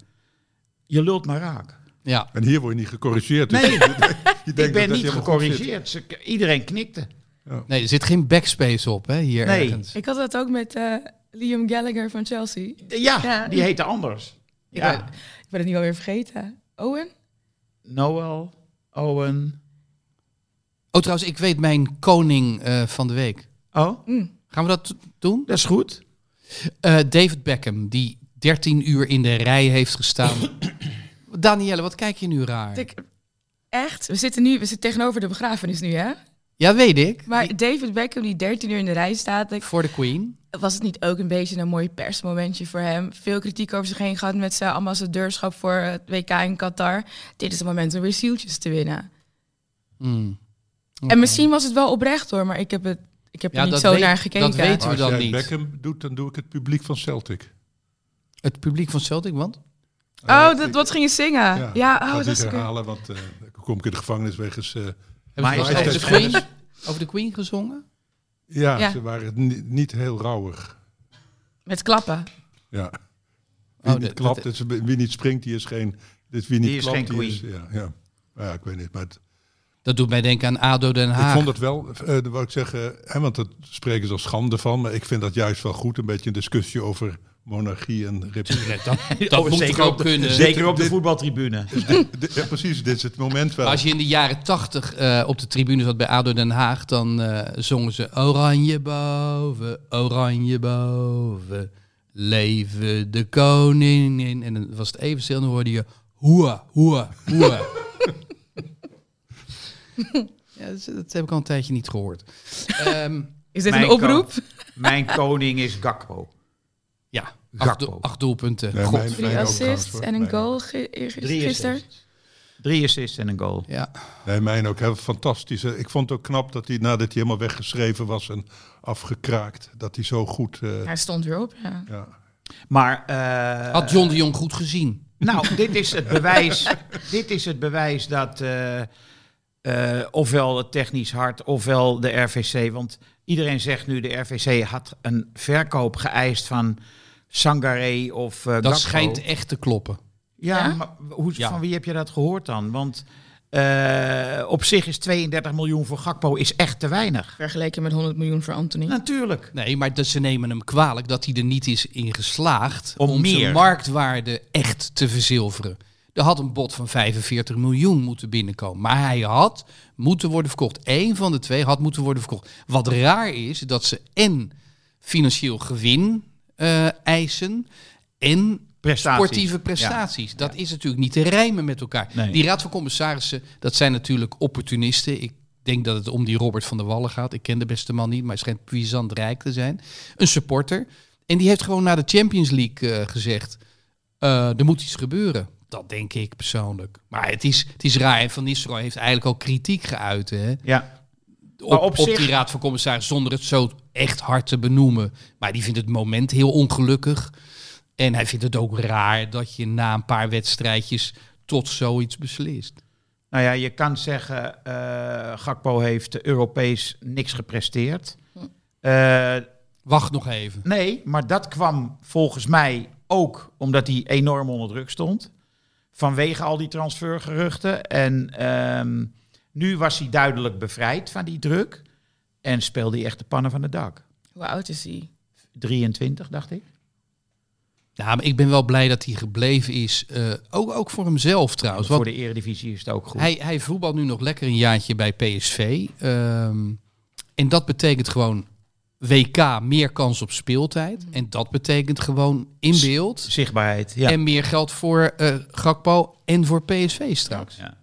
[SPEAKER 3] Je lult maar raak.
[SPEAKER 5] Ja.
[SPEAKER 7] En hier word je niet gecorrigeerd. Dus
[SPEAKER 3] Nee.
[SPEAKER 7] je denkt
[SPEAKER 3] Ik
[SPEAKER 7] dat dat
[SPEAKER 3] ben niet
[SPEAKER 7] helemaal goed zit.
[SPEAKER 3] gecorrigeerd. Ze- iedereen knikte.
[SPEAKER 5] Nee, er zit geen backspace op hè, hier
[SPEAKER 3] Nee.
[SPEAKER 5] ergens.
[SPEAKER 6] Ik had dat ook met eh, Liam Gallagher van Chelsea.
[SPEAKER 3] Ja,
[SPEAKER 6] Ja.
[SPEAKER 3] die heette anders. Ja.
[SPEAKER 6] Ik, ben, ik ben het nu alweer vergeten. Owen?
[SPEAKER 3] Noel, Owen...
[SPEAKER 5] Oh, trouwens, ik weet mijn koning eh, van de week.
[SPEAKER 3] Oh,
[SPEAKER 5] Gaan we dat t- doen?
[SPEAKER 3] dat is goed.
[SPEAKER 5] Eh, David Beckham, die 13 uur in de rij heeft gestaan. Danielle, wat kijk je nu raar?
[SPEAKER 6] Ik, echt? We zitten nu we zitten tegenover de begrafenis nu, hè?
[SPEAKER 5] Ja, weet ik.
[SPEAKER 6] Maar David Beckham, die 13 uur in de rij staat, ik-
[SPEAKER 5] Voor de Queen.
[SPEAKER 6] was het niet ook een beetje een mooi persmomentje voor hem? Veel kritiek over zich heen gehad met zijn ambassadeurschap voor het WK in Qatar. Dit is het moment om weer zieltjes te winnen.
[SPEAKER 5] Hmm.
[SPEAKER 6] En misschien was het wel oprecht hoor, maar ik heb, het, ik heb
[SPEAKER 5] Ja,
[SPEAKER 6] er niet
[SPEAKER 5] dat
[SPEAKER 6] zo
[SPEAKER 5] weet-
[SPEAKER 6] naar
[SPEAKER 5] dat
[SPEAKER 6] gekeken.
[SPEAKER 5] weet-
[SPEAKER 7] Maar
[SPEAKER 5] we
[SPEAKER 7] als
[SPEAKER 5] dan
[SPEAKER 7] jij
[SPEAKER 5] niet.
[SPEAKER 7] Beckham doet, dan doe ik het publiek van Celtic.
[SPEAKER 5] Het publiek van Celtic, want?
[SPEAKER 6] Oh, dat, wat ging je zingen? Ja, oh, dat
[SPEAKER 7] dat
[SPEAKER 6] is
[SPEAKER 7] niet
[SPEAKER 6] ook-
[SPEAKER 7] herhalen, want eh, dan kom ik in de gevangenis wegens... eh,
[SPEAKER 5] Hebben
[SPEAKER 3] Maar
[SPEAKER 5] ze
[SPEAKER 3] is
[SPEAKER 5] wel eens
[SPEAKER 3] het-
[SPEAKER 5] over de Queen, over de Queen gezongen?
[SPEAKER 7] ja,
[SPEAKER 6] Ja.
[SPEAKER 7] ze waren ni- niet heel rauwig.
[SPEAKER 6] Met klappen.
[SPEAKER 7] Ja.
[SPEAKER 5] Oh,
[SPEAKER 7] Wie niet
[SPEAKER 5] dat-
[SPEAKER 7] klapt,
[SPEAKER 5] dat-
[SPEAKER 7] is, wie niet springt, die is geen... Dus wie niet
[SPEAKER 3] Die is
[SPEAKER 7] klapt,
[SPEAKER 3] geen
[SPEAKER 7] die is... Ja, ja. ja, ik weet niet, maar... het-
[SPEAKER 5] Dat doet mij denken aan ADO Den Haag.
[SPEAKER 7] Ik vond het wel, eh wou ik zeggen, hè, want daar spreken ze als schande van, maar ik vind dat juist wel goed, een beetje een discussie over monarchie en republiek.
[SPEAKER 5] dat dat moet toch ook kunnen.
[SPEAKER 3] nou oh, Zeker op de voetbaltribune.
[SPEAKER 7] De- ja, precies, dit is het moment wel.
[SPEAKER 5] Als je in de jaren tachtig eh, op de tribune zat bij ADO Den Haag, dan eh, zongen ze Oranje boven, oranje boven, leven de koningin. En dan was het even stil en dan hoorde je hoea, hoea, hoea. ja, dat, dat heb ik al een tijdje niet gehoord. Ehm,
[SPEAKER 6] Is dit
[SPEAKER 3] Mijn
[SPEAKER 6] een oproep?
[SPEAKER 3] Mijn koning is Gakpo.
[SPEAKER 5] ja, acht,
[SPEAKER 3] Gakpo.
[SPEAKER 5] do- acht doelpunten.
[SPEAKER 7] Nee,
[SPEAKER 5] God.
[SPEAKER 7] mijn-
[SPEAKER 6] Drie
[SPEAKER 7] mijn ook
[SPEAKER 6] assists
[SPEAKER 7] trouwens, hoor.
[SPEAKER 6] en een
[SPEAKER 7] Mijn
[SPEAKER 6] goal ge-
[SPEAKER 3] Drie
[SPEAKER 6] gisteren.
[SPEAKER 3] assists. Drie assists en een goal.
[SPEAKER 5] Ja.
[SPEAKER 7] Nee, mijn ook. Hè, fantastisch. hè. Ik vond het ook knap dat hij, nadat hij helemaal weggeschreven was en afgekraakt, dat hij zo goed... eh,
[SPEAKER 6] Hij stond weer op, ja.
[SPEAKER 7] ja.
[SPEAKER 3] Maar eh,
[SPEAKER 5] Had John de Jong goed gezien?
[SPEAKER 3] Nou, dit is het bewijs, dit is het bewijs dat eh, eh, ofwel het technisch hart ofwel de RVC. Want iedereen zegt nu de RVC had een verkoop geëist van Sangaré of eh Gakpo.
[SPEAKER 5] Dat schijnt echt te kloppen.
[SPEAKER 3] Ja,
[SPEAKER 6] Ja?
[SPEAKER 3] maar hoe,
[SPEAKER 5] Ja.
[SPEAKER 3] van wie heb je dat gehoord dan? Want eh, op zich is 32 miljoen voor Gakpo is echt te weinig.
[SPEAKER 6] Vergeleken met 100 miljoen voor Anthony.
[SPEAKER 3] Natuurlijk.
[SPEAKER 5] Nee, maar dat ze nemen hem kwalijk dat hij er niet is in geslaagd
[SPEAKER 3] Om
[SPEAKER 5] om,
[SPEAKER 3] meer.
[SPEAKER 5] zijn marktwaarde echt te verzilveren. Er had een bod van 45 miljoen moeten binnenkomen. Maar hij had moeten worden verkocht. Eén van de twee had moeten worden verkocht. Wat raar is dat ze en financieel gewin eh, eisen en
[SPEAKER 3] Prestaties.
[SPEAKER 5] sportieve prestaties. Dat is natuurlijk niet te rijmen met elkaar.
[SPEAKER 3] Nee.
[SPEAKER 5] Die raad van commissarissen, dat zijn natuurlijk opportunisten. Ik denk dat het om die Robert van der Wallen gaat. Ik ken de beste man niet, maar hij schijnt puissant rijk te zijn. Een supporter. En die heeft gewoon na de Champions League eh, gezegd, eh, er moet iets gebeuren. Dat denk ik persoonlijk. Maar het is, het is raar. En Van Nistelrooy heeft eigenlijk al kritiek geuit. Hè?
[SPEAKER 3] Ja.
[SPEAKER 5] Op,
[SPEAKER 3] Maar op
[SPEAKER 5] op,
[SPEAKER 3] zich-
[SPEAKER 5] die raad van commissarissen zonder het zo echt hard te benoemen. Maar die vindt het moment heel ongelukkig. En hij vindt het ook raar dat je na een paar wedstrijdjes tot zoiets beslist.
[SPEAKER 3] Nou ja, je kan zeggen, eh, Gakpo heeft Europees niks gepresteerd. Eh,
[SPEAKER 5] Wacht nog even.
[SPEAKER 3] nee, maar dat kwam volgens mij ook omdat hij enorm onder druk stond. Vanwege al die transfergeruchten. En ehm, nu was hij duidelijk bevrijd van die druk. En speelde hij echt de pannen van het dak.
[SPEAKER 6] Hoe oud is hij?
[SPEAKER 3] 23, dacht ik.
[SPEAKER 5] Ja, maar ik ben wel blij dat hij gebleven is. eh, ook, ook voor hemzelf trouwens.
[SPEAKER 3] Voor
[SPEAKER 5] Want
[SPEAKER 3] de Eredivisie is het ook goed.
[SPEAKER 5] hij, hij voetbalt nu nog lekker een jaartje bij PSV. Ehm, en dat betekent gewoon WK, meer kans op speeltijd.
[SPEAKER 3] Mm.
[SPEAKER 5] En dat betekent gewoon in beeld.
[SPEAKER 3] Zichtbaarheid, ja.
[SPEAKER 5] En meer geld voor eh, Gakpo en voor PSV straks.
[SPEAKER 3] ja.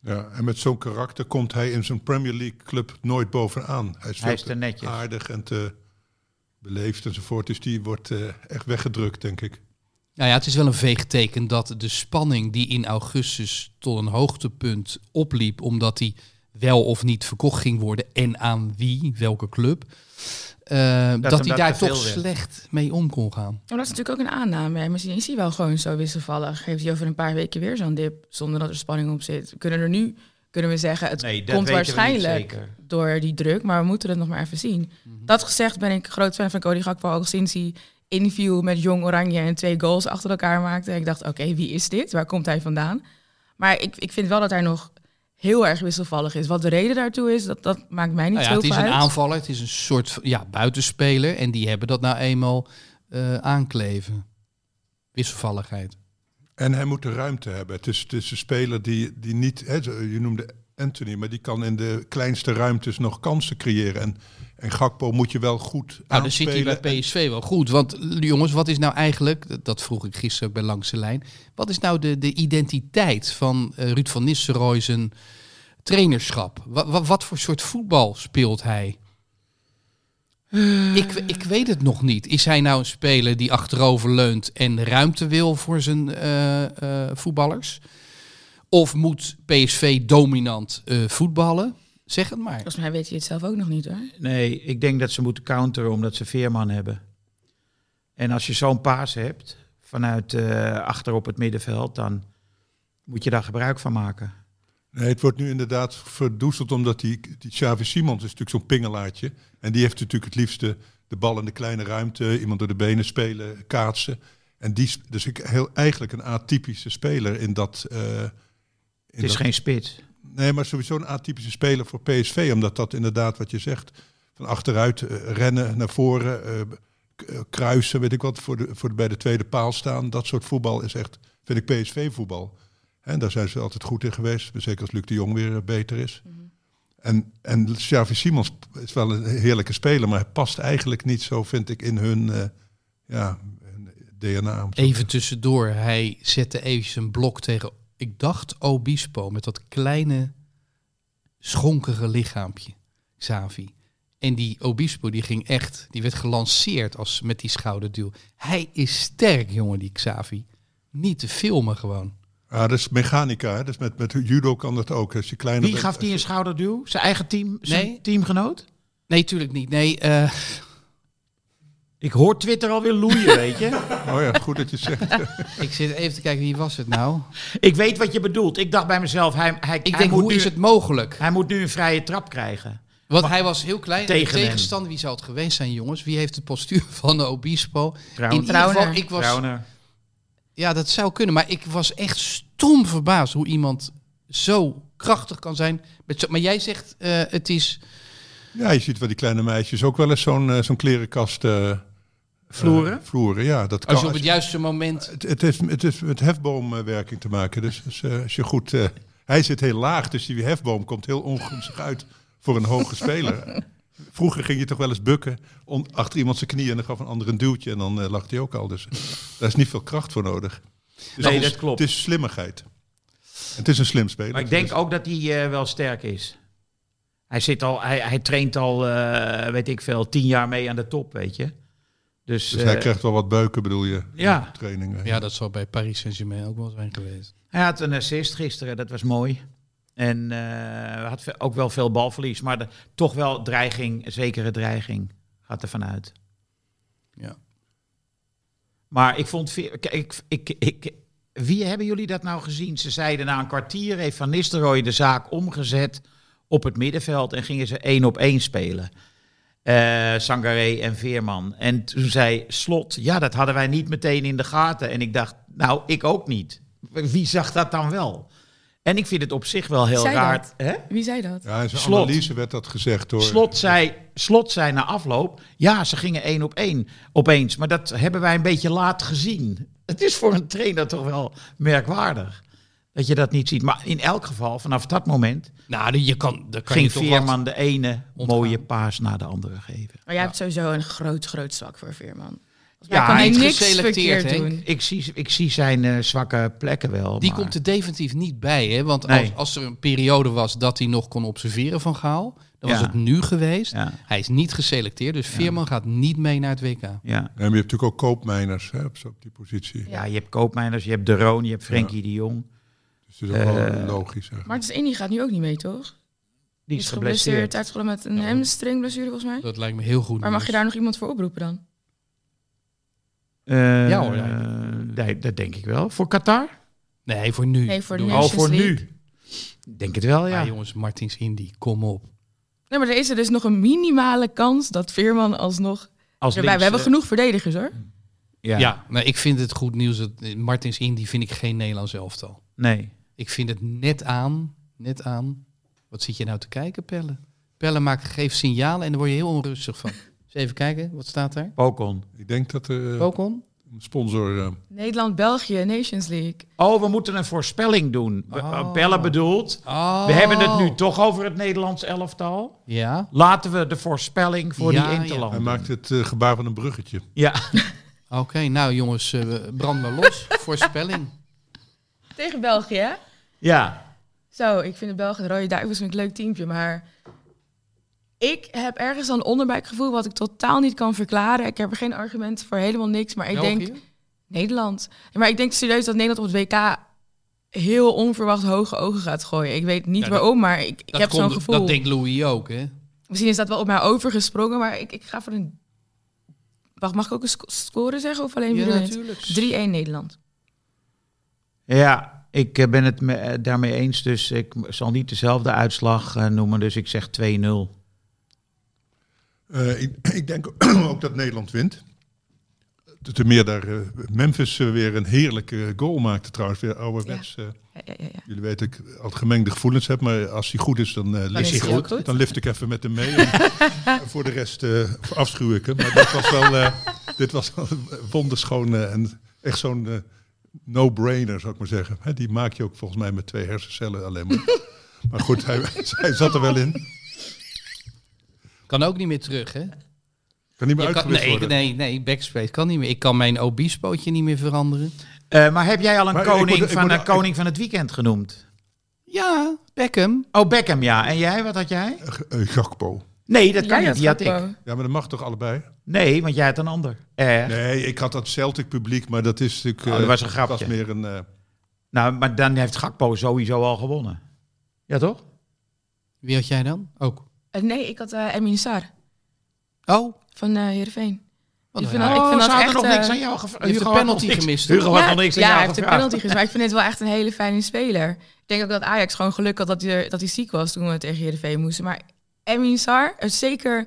[SPEAKER 7] Ja, en met zo'n karakter komt hij in zijn Premier League club nooit bovenaan. Hij is, veel
[SPEAKER 3] Hij is
[SPEAKER 7] te
[SPEAKER 3] te netjes.
[SPEAKER 7] aardig en te beleefd enzovoort, dus die wordt eh, echt weggedrukt, denk ik.
[SPEAKER 5] Nou ja, het is wel een veegteken dat de spanning die in augustus tot een hoogtepunt opliep, omdat die wel of niet verkocht ging worden en aan wie, welke club, eh, dat,
[SPEAKER 3] hem
[SPEAKER 5] hij
[SPEAKER 3] daar
[SPEAKER 5] daar
[SPEAKER 3] te veel
[SPEAKER 5] toch
[SPEAKER 3] werd.
[SPEAKER 5] slecht mee om kon gaan.
[SPEAKER 6] Maar Oh, dat is natuurlijk ook een aanname. hè. Misschien is hij wel gewoon zo wisselvallig. Heeft hij over een paar weken weer zo'n dip zonder dat er spanning op zit. We Kunnen er nu kunnen we zeggen, het
[SPEAKER 3] Nee, dat
[SPEAKER 6] komt
[SPEAKER 3] weten we niet
[SPEAKER 6] waarschijnlijk
[SPEAKER 3] zeker. Mhm.
[SPEAKER 6] door die druk, maar we moeten het nog maar even zien. Dat gezegd ben ik groot fan van Cody Gakpo al sinds hij inviel met Jong Oranje en twee goals achter elkaar maakte. Ik dacht, oké, wie is dit? Waar komt hij vandaan? Maar ik, ik vind wel dat hij nog heel erg wisselvallig is. Wat de reden daartoe is, dat, dat maakt mij niet
[SPEAKER 5] Nou ja,
[SPEAKER 6] heel
[SPEAKER 5] het is
[SPEAKER 6] veel
[SPEAKER 5] een
[SPEAKER 6] uit.
[SPEAKER 5] aanvaller, het is een soort van- ja, buitenspeler en die hebben dat nou eenmaal eh, aankleven. Wisselvalligheid.
[SPEAKER 7] En hij moet de ruimte hebben. Het is, het is een speler die, die niet, hè, zo- je noemde Anthony, maar die kan in de kleinste ruimtes nog kansen creëren. En, en Gakpo moet je wel goed
[SPEAKER 5] Nou, dan zit
[SPEAKER 7] aanspelen.
[SPEAKER 5] hij bij PSV wel goed. Want l- jongens, wat is nou eigenlijk, dat- dat vroeg ik gisteren ook bij Langs de Lijn, wat is nou de, de identiteit van eh, Ruud van Nistelrooy zijn trainerschap? Wa- wa- wat voor soort voetbal speelt hij? Ik, we- ik weet het nog niet. Is hij nou een speler die achterover leunt en ruimte wil voor zijn eh, eh, voetballers? Of moet PSV dominant eh, voetballen? Zeg het maar.
[SPEAKER 6] Volgens mij weet je het zelf ook nog niet hoor.
[SPEAKER 3] Nee, ik denk dat ze moeten counteren omdat ze Veerman hebben. En als je zo'n paas hebt vanuit eh, achter op het middenveld, dan moet je daar gebruik van maken.
[SPEAKER 7] Nee, het wordt nu inderdaad verdoezeld omdat die, die Xavi Simons is natuurlijk zo'n pingelaartje. En die heeft natuurlijk het liefste de bal in de kleine ruimte, iemand door de benen spelen, kaatsen. En die, sp- dus ik heel, eigenlijk een atypische speler in dat... eh, in
[SPEAKER 3] Het is
[SPEAKER 7] dat-
[SPEAKER 3] geen spits.
[SPEAKER 7] Nee, maar sowieso een atypische speler voor PSV. Omdat dat inderdaad wat je zegt, van achteruit eh, rennen, naar voren, eh, k- eh, kruisen, weet ik wat, voor de, voor de- bij de tweede paal staan. Dat soort voetbal is echt, vind ik PSV-voetbal. En daar zijn ze altijd goed in geweest. Zeker als Luc de Jong weer eh, beter is. En, en Xavi Simons is wel een heerlijke speler, maar hij past eigenlijk niet zo, vind ik, in hun, eh, ja, hun DNA. om zo te
[SPEAKER 5] Even tussendoor, hij zette eventjes een blok tegen, ik dacht Obispo, met dat kleine schonkere lichaampje, Xavi. En die Obispo, die ging echt, die werd gelanceerd als, met die schouderduw. Hij is sterk, jongen, die Xavi. Niet te filmen gewoon.
[SPEAKER 7] Ja, Ah, dat is mechanica. hè. Dus met, met judo kan dat ook. Als je kleiner
[SPEAKER 3] Wie
[SPEAKER 7] bent-
[SPEAKER 3] gaf die een schouderduw? Zijn eigen team, zijn
[SPEAKER 5] Nee.
[SPEAKER 3] teamgenoot?
[SPEAKER 5] Nee, tuurlijk niet. Nee, eh,
[SPEAKER 3] Ik hoor Twitter alweer loeien, weet je.
[SPEAKER 7] Oh ja, goed dat je het zegt.
[SPEAKER 5] ik zit even te kijken, wie was het nou?
[SPEAKER 3] Ik weet wat je bedoelt. Ik dacht bij mezelf, hij, hij,
[SPEAKER 5] Ik
[SPEAKER 3] hij
[SPEAKER 5] denk,
[SPEAKER 3] moet
[SPEAKER 5] hoe
[SPEAKER 3] nu,
[SPEAKER 5] is het mogelijk?
[SPEAKER 3] hij moet nu een vrije trap krijgen.
[SPEAKER 5] Want hij was heel klein.
[SPEAKER 3] Tegen
[SPEAKER 5] de
[SPEAKER 3] hem.
[SPEAKER 5] tegenstander, wie zou het geweest zijn, jongens? Wie heeft het postuur van de Obispo?
[SPEAKER 3] Trouwens.
[SPEAKER 5] In ieder geval,
[SPEAKER 6] Trauner.
[SPEAKER 5] ik was,
[SPEAKER 3] Trouwner.
[SPEAKER 5] ja, dat zou kunnen. Maar ik was echt stom verbaasd hoe iemand zo krachtig kan zijn. Met zo, maar jij zegt, eh, het is...
[SPEAKER 7] Ja, je ziet wel die kleine meisjes ook wel eens zo'n eh, zo'n klerenkast... eh,
[SPEAKER 3] Vloeren?
[SPEAKER 7] eh, vloeren, ja. Dat kan,
[SPEAKER 5] Als je op het juiste moment...
[SPEAKER 7] het, het heeft, het heeft met hefboomwerking te maken. Dus als, eh, als je goed... eh, hij zit heel laag, dus die hefboom komt heel ongunstig uit voor een hoge speler. Vroeger ging je toch wel eens bukken on- achter iemand zijn knieën en dan gaf een ander een duwtje en dan eh, lag hij ook al. Dus daar is niet veel kracht voor nodig. Dus
[SPEAKER 3] Nee,
[SPEAKER 7] het is-
[SPEAKER 3] dat klopt.
[SPEAKER 7] Het is slimmigheid. Het is een slim speler. Dus
[SPEAKER 3] Maar ik denk ook dat hij eh, wel sterk is. Hij, zit al, hij, hij traint al, eh, weet ik veel, tien jaar mee aan de top, weet je. Dus,
[SPEAKER 7] Dus
[SPEAKER 3] eh,
[SPEAKER 7] hij krijgt wel wat beuken, bedoel je?
[SPEAKER 3] Ja.
[SPEAKER 7] in de Trainingen.
[SPEAKER 5] Ja, dat zou bij Paris Saint-Germain ook wel zijn geweest.
[SPEAKER 3] hij had een assist gisteren, dat was mooi. En eh had ve- ook wel veel balverlies, maar de- toch wel dreiging, zekere dreiging, gaat er vanuit.
[SPEAKER 5] Ja.
[SPEAKER 3] Maar ik vond, Veer- kijk, ik, ik, ik, wie hebben jullie dat nou gezien? Ze zeiden na een kwartier heeft Van Nistelrooy de zaak omgezet op het middenveld en gingen ze één op één spelen. Eh Sangaré en Veerman. En toen zei Slot, ja, dat hadden wij niet meteen in de gaten. En ik dacht, nou, ik ook niet. Wie zag dat dan wel? En ik vind het op zich wel heel
[SPEAKER 6] Zei
[SPEAKER 3] raar.
[SPEAKER 6] dat?
[SPEAKER 3] Hè?
[SPEAKER 6] Wie zei dat?
[SPEAKER 7] Ja, in zijn
[SPEAKER 3] Slot.
[SPEAKER 7] analyse werd dat gezegd door.
[SPEAKER 3] Slot zei, Slot zei na afloop, ja, ze gingen één op één opeens. Maar dat hebben wij een beetje laat gezien. Het is voor een trainer toch wel merkwaardig dat je dat niet ziet. Maar in elk geval, vanaf dat moment
[SPEAKER 5] Nou, je kan, daar kan je
[SPEAKER 3] ging
[SPEAKER 5] toch wat-
[SPEAKER 3] Veerman de ene mooie paas na de andere geven.
[SPEAKER 6] Maar Oh, jij hebt sowieso een groot, groot zwak voor Veerman. Volgens
[SPEAKER 3] Ja,
[SPEAKER 6] mij kan hij
[SPEAKER 3] hij
[SPEAKER 5] is
[SPEAKER 6] niks
[SPEAKER 5] geselecteerd,
[SPEAKER 6] verkeerd
[SPEAKER 5] Henk.
[SPEAKER 6] doen.
[SPEAKER 3] Ik zie, ik zie zijn eh, zwakke plekken wel.
[SPEAKER 5] Die
[SPEAKER 3] maar-
[SPEAKER 5] komt er definitief niet bij, hè? Want
[SPEAKER 3] Nee.
[SPEAKER 5] als, als er een periode was dat hij nog kon observeren van Gaal, dan was
[SPEAKER 3] Ja.
[SPEAKER 5] het nu geweest.
[SPEAKER 3] Ja.
[SPEAKER 5] Hij is niet geselecteerd, dus Veerman gaat niet mee naar het WK.
[SPEAKER 3] Ja.
[SPEAKER 7] Ja, maar je hebt natuurlijk ook koopmijners hè, op, zo- op die positie.
[SPEAKER 3] ja, je hebt Koopmeiners, je hebt De Roon, je hebt Frenkie de Jong.
[SPEAKER 7] Dus dat is ook wel logisch. Eigenlijk.
[SPEAKER 6] Maar het is Indy gaat nu ook niet mee, toch?
[SPEAKER 3] Die is geblesseerd.
[SPEAKER 6] uitgevallen met een hamstringblessure volgens mij.
[SPEAKER 5] Dat lijkt me heel goed.
[SPEAKER 6] Maar mag je
[SPEAKER 5] nieuws.
[SPEAKER 6] daar nog iemand voor oproepen dan?
[SPEAKER 3] Eh,
[SPEAKER 5] Ja hoor,
[SPEAKER 3] nee, dat denk ik wel. Voor Qatar?
[SPEAKER 5] Nee, voor nu.
[SPEAKER 6] Nee, voor
[SPEAKER 5] Doe
[SPEAKER 6] nu. dus
[SPEAKER 5] maar.
[SPEAKER 3] Oh,
[SPEAKER 6] Nations
[SPEAKER 3] voor
[SPEAKER 6] League.
[SPEAKER 3] nu. Denk het wel, ja.
[SPEAKER 5] Maar jongens, Martins Indy, kom op.
[SPEAKER 6] Nee, maar er is er dus nog een minimale kans dat Veerman alsnog...
[SPEAKER 3] Als
[SPEAKER 6] erbij. We hebben
[SPEAKER 3] links,
[SPEAKER 6] genoeg verdedigers hoor.
[SPEAKER 3] eh,
[SPEAKER 5] Ja, maar ik vind het goed nieuws. Dat, eh, Martins Indy vind ik geen Nederlands elftal.
[SPEAKER 3] Nee.
[SPEAKER 5] Ik vind het net aan, net aan. Wat zit je nou te kijken, Pelle? Pelle maakt, geeft signalen en daar word je heel onrustig van. Eens even kijken, wat staat daar?
[SPEAKER 3] Pokon.
[SPEAKER 7] Ik denk dat er eh,
[SPEAKER 5] Pokon?
[SPEAKER 7] een sponsor. eh,
[SPEAKER 6] Nederland-België, Nations League.
[SPEAKER 3] Oh, we moeten een voorspelling doen. We-
[SPEAKER 5] Oh.
[SPEAKER 3] Bellen bedoelt. We hebben het nu toch over het Nederlands elftal.
[SPEAKER 5] Ja.
[SPEAKER 3] Laten we de voorspelling voor
[SPEAKER 5] Ja,
[SPEAKER 3] die
[SPEAKER 5] ja.
[SPEAKER 3] Interland.
[SPEAKER 7] hij
[SPEAKER 3] doen.
[SPEAKER 7] maakt het eh, gebaar van een bruggetje.
[SPEAKER 3] Ja.
[SPEAKER 5] Oké, nou jongens, eh, we- brand maar los. Voorspelling.
[SPEAKER 6] Tegen België, hè?
[SPEAKER 3] ja.
[SPEAKER 6] Zo, ik vind de Belgen de Rode Duivels een leuk teampje, maar... Ik heb ergens al een onderbuikgevoel wat ik totaal niet kan verklaren. Ik heb er geen argument voor, helemaal niks. Maar ik denk
[SPEAKER 5] België?
[SPEAKER 6] Nederland. Maar ik denk serieus dat Nederland op het WK heel onverwacht hoge ogen gaat gooien. Ik weet niet
[SPEAKER 5] Ja, dat-
[SPEAKER 6] waarom, maar ik, ik
[SPEAKER 5] Dat
[SPEAKER 6] heb zo'n
[SPEAKER 5] komt-
[SPEAKER 6] gevoel.
[SPEAKER 5] Dat denkt Louis ook, hè?
[SPEAKER 6] Misschien is dat wel op mij overgesprongen, maar ik, ik ga voor een... Wacht, mag ik ook een sco- score zeggen of alleen
[SPEAKER 5] Ja,
[SPEAKER 6] winnen?
[SPEAKER 5] natuurlijk.
[SPEAKER 6] 3-1 Nederland.
[SPEAKER 3] Ja, ik eh, ben het me- eh, daarmee eens. Dus ik m- zal niet dezelfde uitslag eh, noemen. Dus ik zeg 2-0.
[SPEAKER 7] Eh, ik, ik denk ook dat Nederland wint. Te- Te meer daar eh, Memphis eh, weer een heerlijke goal maakte trouwens. Weer ouderwets. eh,
[SPEAKER 6] Ja, ja, ja, ja.
[SPEAKER 7] jullie weten, ik altijd gemengde gevoelens heb. Maar als hij goed is, dan eh lift
[SPEAKER 6] is
[SPEAKER 7] ik
[SPEAKER 6] hij ook goed.
[SPEAKER 7] Dan lift ik even met hem mee. En voor de rest eh, afschuw ik hem. Maar dit was wel, eh, dit was wel een wonderschoon eh, en echt zo'n eh, no-brainer, zou ik maar zeggen. Hè, die maak je ook volgens mij met twee hersencellen alleen maar. maar goed, hij, hij zat er wel in.
[SPEAKER 5] Kan ook niet meer terug, hè?
[SPEAKER 7] Kan niet meer
[SPEAKER 5] Je kan-
[SPEAKER 7] uitgewist
[SPEAKER 5] nee,
[SPEAKER 7] worden.
[SPEAKER 5] nee, nee, backspace kan niet meer. Ik kan mijn obispootje niet meer veranderen.
[SPEAKER 3] Eh, maar heb jij al een
[SPEAKER 7] Maar ik
[SPEAKER 3] koning,
[SPEAKER 7] moet- ik
[SPEAKER 3] van,
[SPEAKER 7] moet-
[SPEAKER 3] een koning van het weekend genoemd?
[SPEAKER 5] Ja, Beckham.
[SPEAKER 3] Oh, Beckham, ja. En jij, wat had jij?
[SPEAKER 7] Eh, Gakpo.
[SPEAKER 3] Nee, dat kan
[SPEAKER 6] Jij
[SPEAKER 3] niet. Die had
[SPEAKER 6] Gakpo.
[SPEAKER 3] ik.
[SPEAKER 7] Ja, maar dat mag toch allebei?
[SPEAKER 3] Nee, want jij had een ander. Eh,
[SPEAKER 7] Nee, ik had dat Celtic publiek, maar dat is natuurlijk...
[SPEAKER 3] Oh, dat
[SPEAKER 7] eh,
[SPEAKER 3] was een grapje.
[SPEAKER 7] was meer een... eh,
[SPEAKER 3] Nou, maar dan heeft Gakpo sowieso al gewonnen. Ja, toch?
[SPEAKER 5] Wie had jij dan? Ook.
[SPEAKER 6] Eh, nee, ik had eh Emin Saar
[SPEAKER 5] Oh,
[SPEAKER 6] van eh Heerenveen.
[SPEAKER 5] wat
[SPEAKER 6] Ik
[SPEAKER 5] een
[SPEAKER 6] vind dat-
[SPEAKER 5] raar.
[SPEAKER 6] ik vind
[SPEAKER 3] ze
[SPEAKER 6] dat
[SPEAKER 3] hadden
[SPEAKER 6] echt,
[SPEAKER 3] nog niks
[SPEAKER 6] eh,
[SPEAKER 3] aan jou gevraagd.
[SPEAKER 5] je hebt
[SPEAKER 3] Hugo had
[SPEAKER 5] de
[SPEAKER 3] nog
[SPEAKER 5] penalty
[SPEAKER 3] niks-
[SPEAKER 5] gemist.
[SPEAKER 3] Hugo had
[SPEAKER 6] ja,
[SPEAKER 3] nog niks aan
[SPEAKER 6] ja,
[SPEAKER 3] jou
[SPEAKER 6] hij heeft een
[SPEAKER 3] gevraagd.
[SPEAKER 6] penalty gezien. Maar ik vind het wel echt een hele fijne speler. Ik denk ook dat Ajax gewoon geluk had dat hij, dat hij ziek was toen we tegen Heerenveen moesten. Maar Emin Sar, eh, zeker...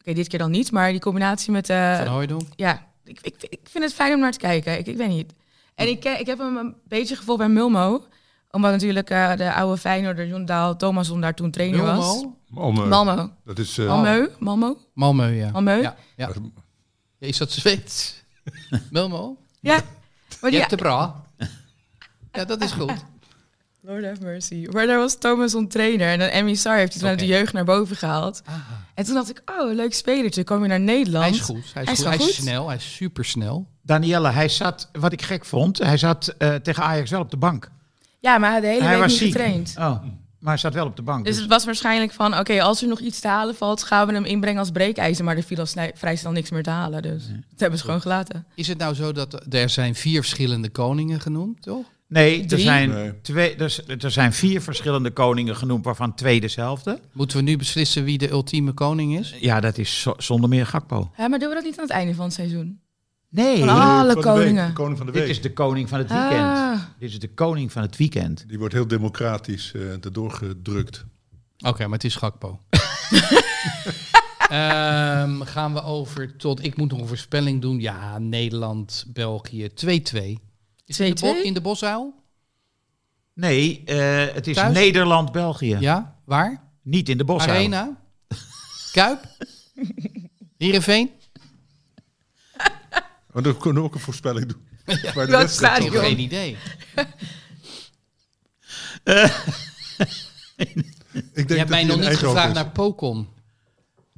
[SPEAKER 6] Oké, dit keer dan niet, maar die combinatie met... eh,
[SPEAKER 5] Van Hooijdonk.
[SPEAKER 6] ja, ik, ik, ik vind het fijn om naar te kijken. Ik, ik weet niet. En ik, ken- ik heb hem een beetje gevoeld bij Mulmo. Omdat natuurlijk eh, de oude Feyenoorder John Daal Thomasson daar toen trainer was.
[SPEAKER 5] Malmö.
[SPEAKER 7] Malmö.
[SPEAKER 6] Malmo.
[SPEAKER 7] Dat is... eh,
[SPEAKER 6] Malmo. Malmo.
[SPEAKER 5] Malmö, Oh. ja.
[SPEAKER 6] Malmö?
[SPEAKER 5] Ja, ja. Ja, Is dat Zweeds? Malmö?
[SPEAKER 6] Ja. Maar
[SPEAKER 5] Je
[SPEAKER 6] Oh, die,
[SPEAKER 5] hebt de bra. Ja, dat is goed.
[SPEAKER 6] Lord have mercy. Maar daar was Thomasson trainer. En dan Emmy Sar heeft hij toen
[SPEAKER 5] Oké. Ah.
[SPEAKER 6] uit de jeugd naar boven gehaald. En toen dacht ik, oh, leuk spelertje. Kom je naar Nederland.
[SPEAKER 5] Hij is goed. Hij is,
[SPEAKER 6] Hij is
[SPEAKER 5] goed.
[SPEAKER 6] wel
[SPEAKER 5] Hij is
[SPEAKER 6] goed.
[SPEAKER 5] snel. Hij is supersnel.
[SPEAKER 3] Danielle, hij zat, wat ik gek vond, hij zat eh, tegen Ajax wel op de bank.
[SPEAKER 6] Ja, maar hij had de hele
[SPEAKER 3] hij
[SPEAKER 6] week
[SPEAKER 3] was
[SPEAKER 6] niet
[SPEAKER 3] ziek.
[SPEAKER 6] getraind.
[SPEAKER 3] Oh, maar hij zat wel op de bank.
[SPEAKER 6] Dus
[SPEAKER 3] dus-
[SPEAKER 6] het was waarschijnlijk van, oké, als er nog iets te halen valt, gaan we hem inbrengen als breekijzer. Maar er viel al snij- vrij snel niks meer te halen. Dus dat hebben ze gewoon gelaten.
[SPEAKER 5] Is het nou zo dat er zijn vier verschillende koningen genoemd, toch?
[SPEAKER 3] nee, er
[SPEAKER 6] drie?
[SPEAKER 3] zijn,
[SPEAKER 7] Nee.
[SPEAKER 3] Twee, er, er zijn vier verschillende koningen genoemd, waarvan twee dezelfde.
[SPEAKER 5] Moeten we nu beslissen wie de ultieme koning is?
[SPEAKER 3] Ja, dat is zo- zonder meer Gakpo.
[SPEAKER 6] Ja, maar doen we dat niet aan het einde van het seizoen?
[SPEAKER 3] Nee,
[SPEAKER 6] Van alle
[SPEAKER 7] van de week,
[SPEAKER 6] koningen.
[SPEAKER 7] de koning van de
[SPEAKER 3] dit
[SPEAKER 7] week.
[SPEAKER 3] is de koning van het
[SPEAKER 6] Ah.
[SPEAKER 3] weekend. Dit is de koning van het weekend.
[SPEAKER 7] Die wordt heel democratisch eh erdoor gedrukt.
[SPEAKER 5] Oké, maar het is Gakpo. Ehm, gaan we over tot... Ik moet nog een voorspelling doen. Ja, Nederland, België, 2-2. Is het in de bo-
[SPEAKER 6] 2-2?
[SPEAKER 5] In de Bosuil?
[SPEAKER 3] Nee, eh, het is
[SPEAKER 5] Thuis?
[SPEAKER 3] Nederland-België.
[SPEAKER 5] Ja, waar?
[SPEAKER 3] Niet in de bossen.
[SPEAKER 5] Arena? Kuip? Heerenveen?
[SPEAKER 7] Maar dan kunnen we ook een voorspelling doen. Maar de
[SPEAKER 6] Dat
[SPEAKER 7] wedstrijd
[SPEAKER 6] staat
[SPEAKER 7] toch
[SPEAKER 5] Ik
[SPEAKER 6] joh.
[SPEAKER 5] heb geen idee.
[SPEAKER 7] Ik denk
[SPEAKER 5] Je
[SPEAKER 7] dat
[SPEAKER 5] hebt mij
[SPEAKER 7] die
[SPEAKER 5] nog
[SPEAKER 7] in
[SPEAKER 5] niet
[SPEAKER 7] Eindhoven
[SPEAKER 5] gevraagd
[SPEAKER 7] is.
[SPEAKER 5] naar Pokon.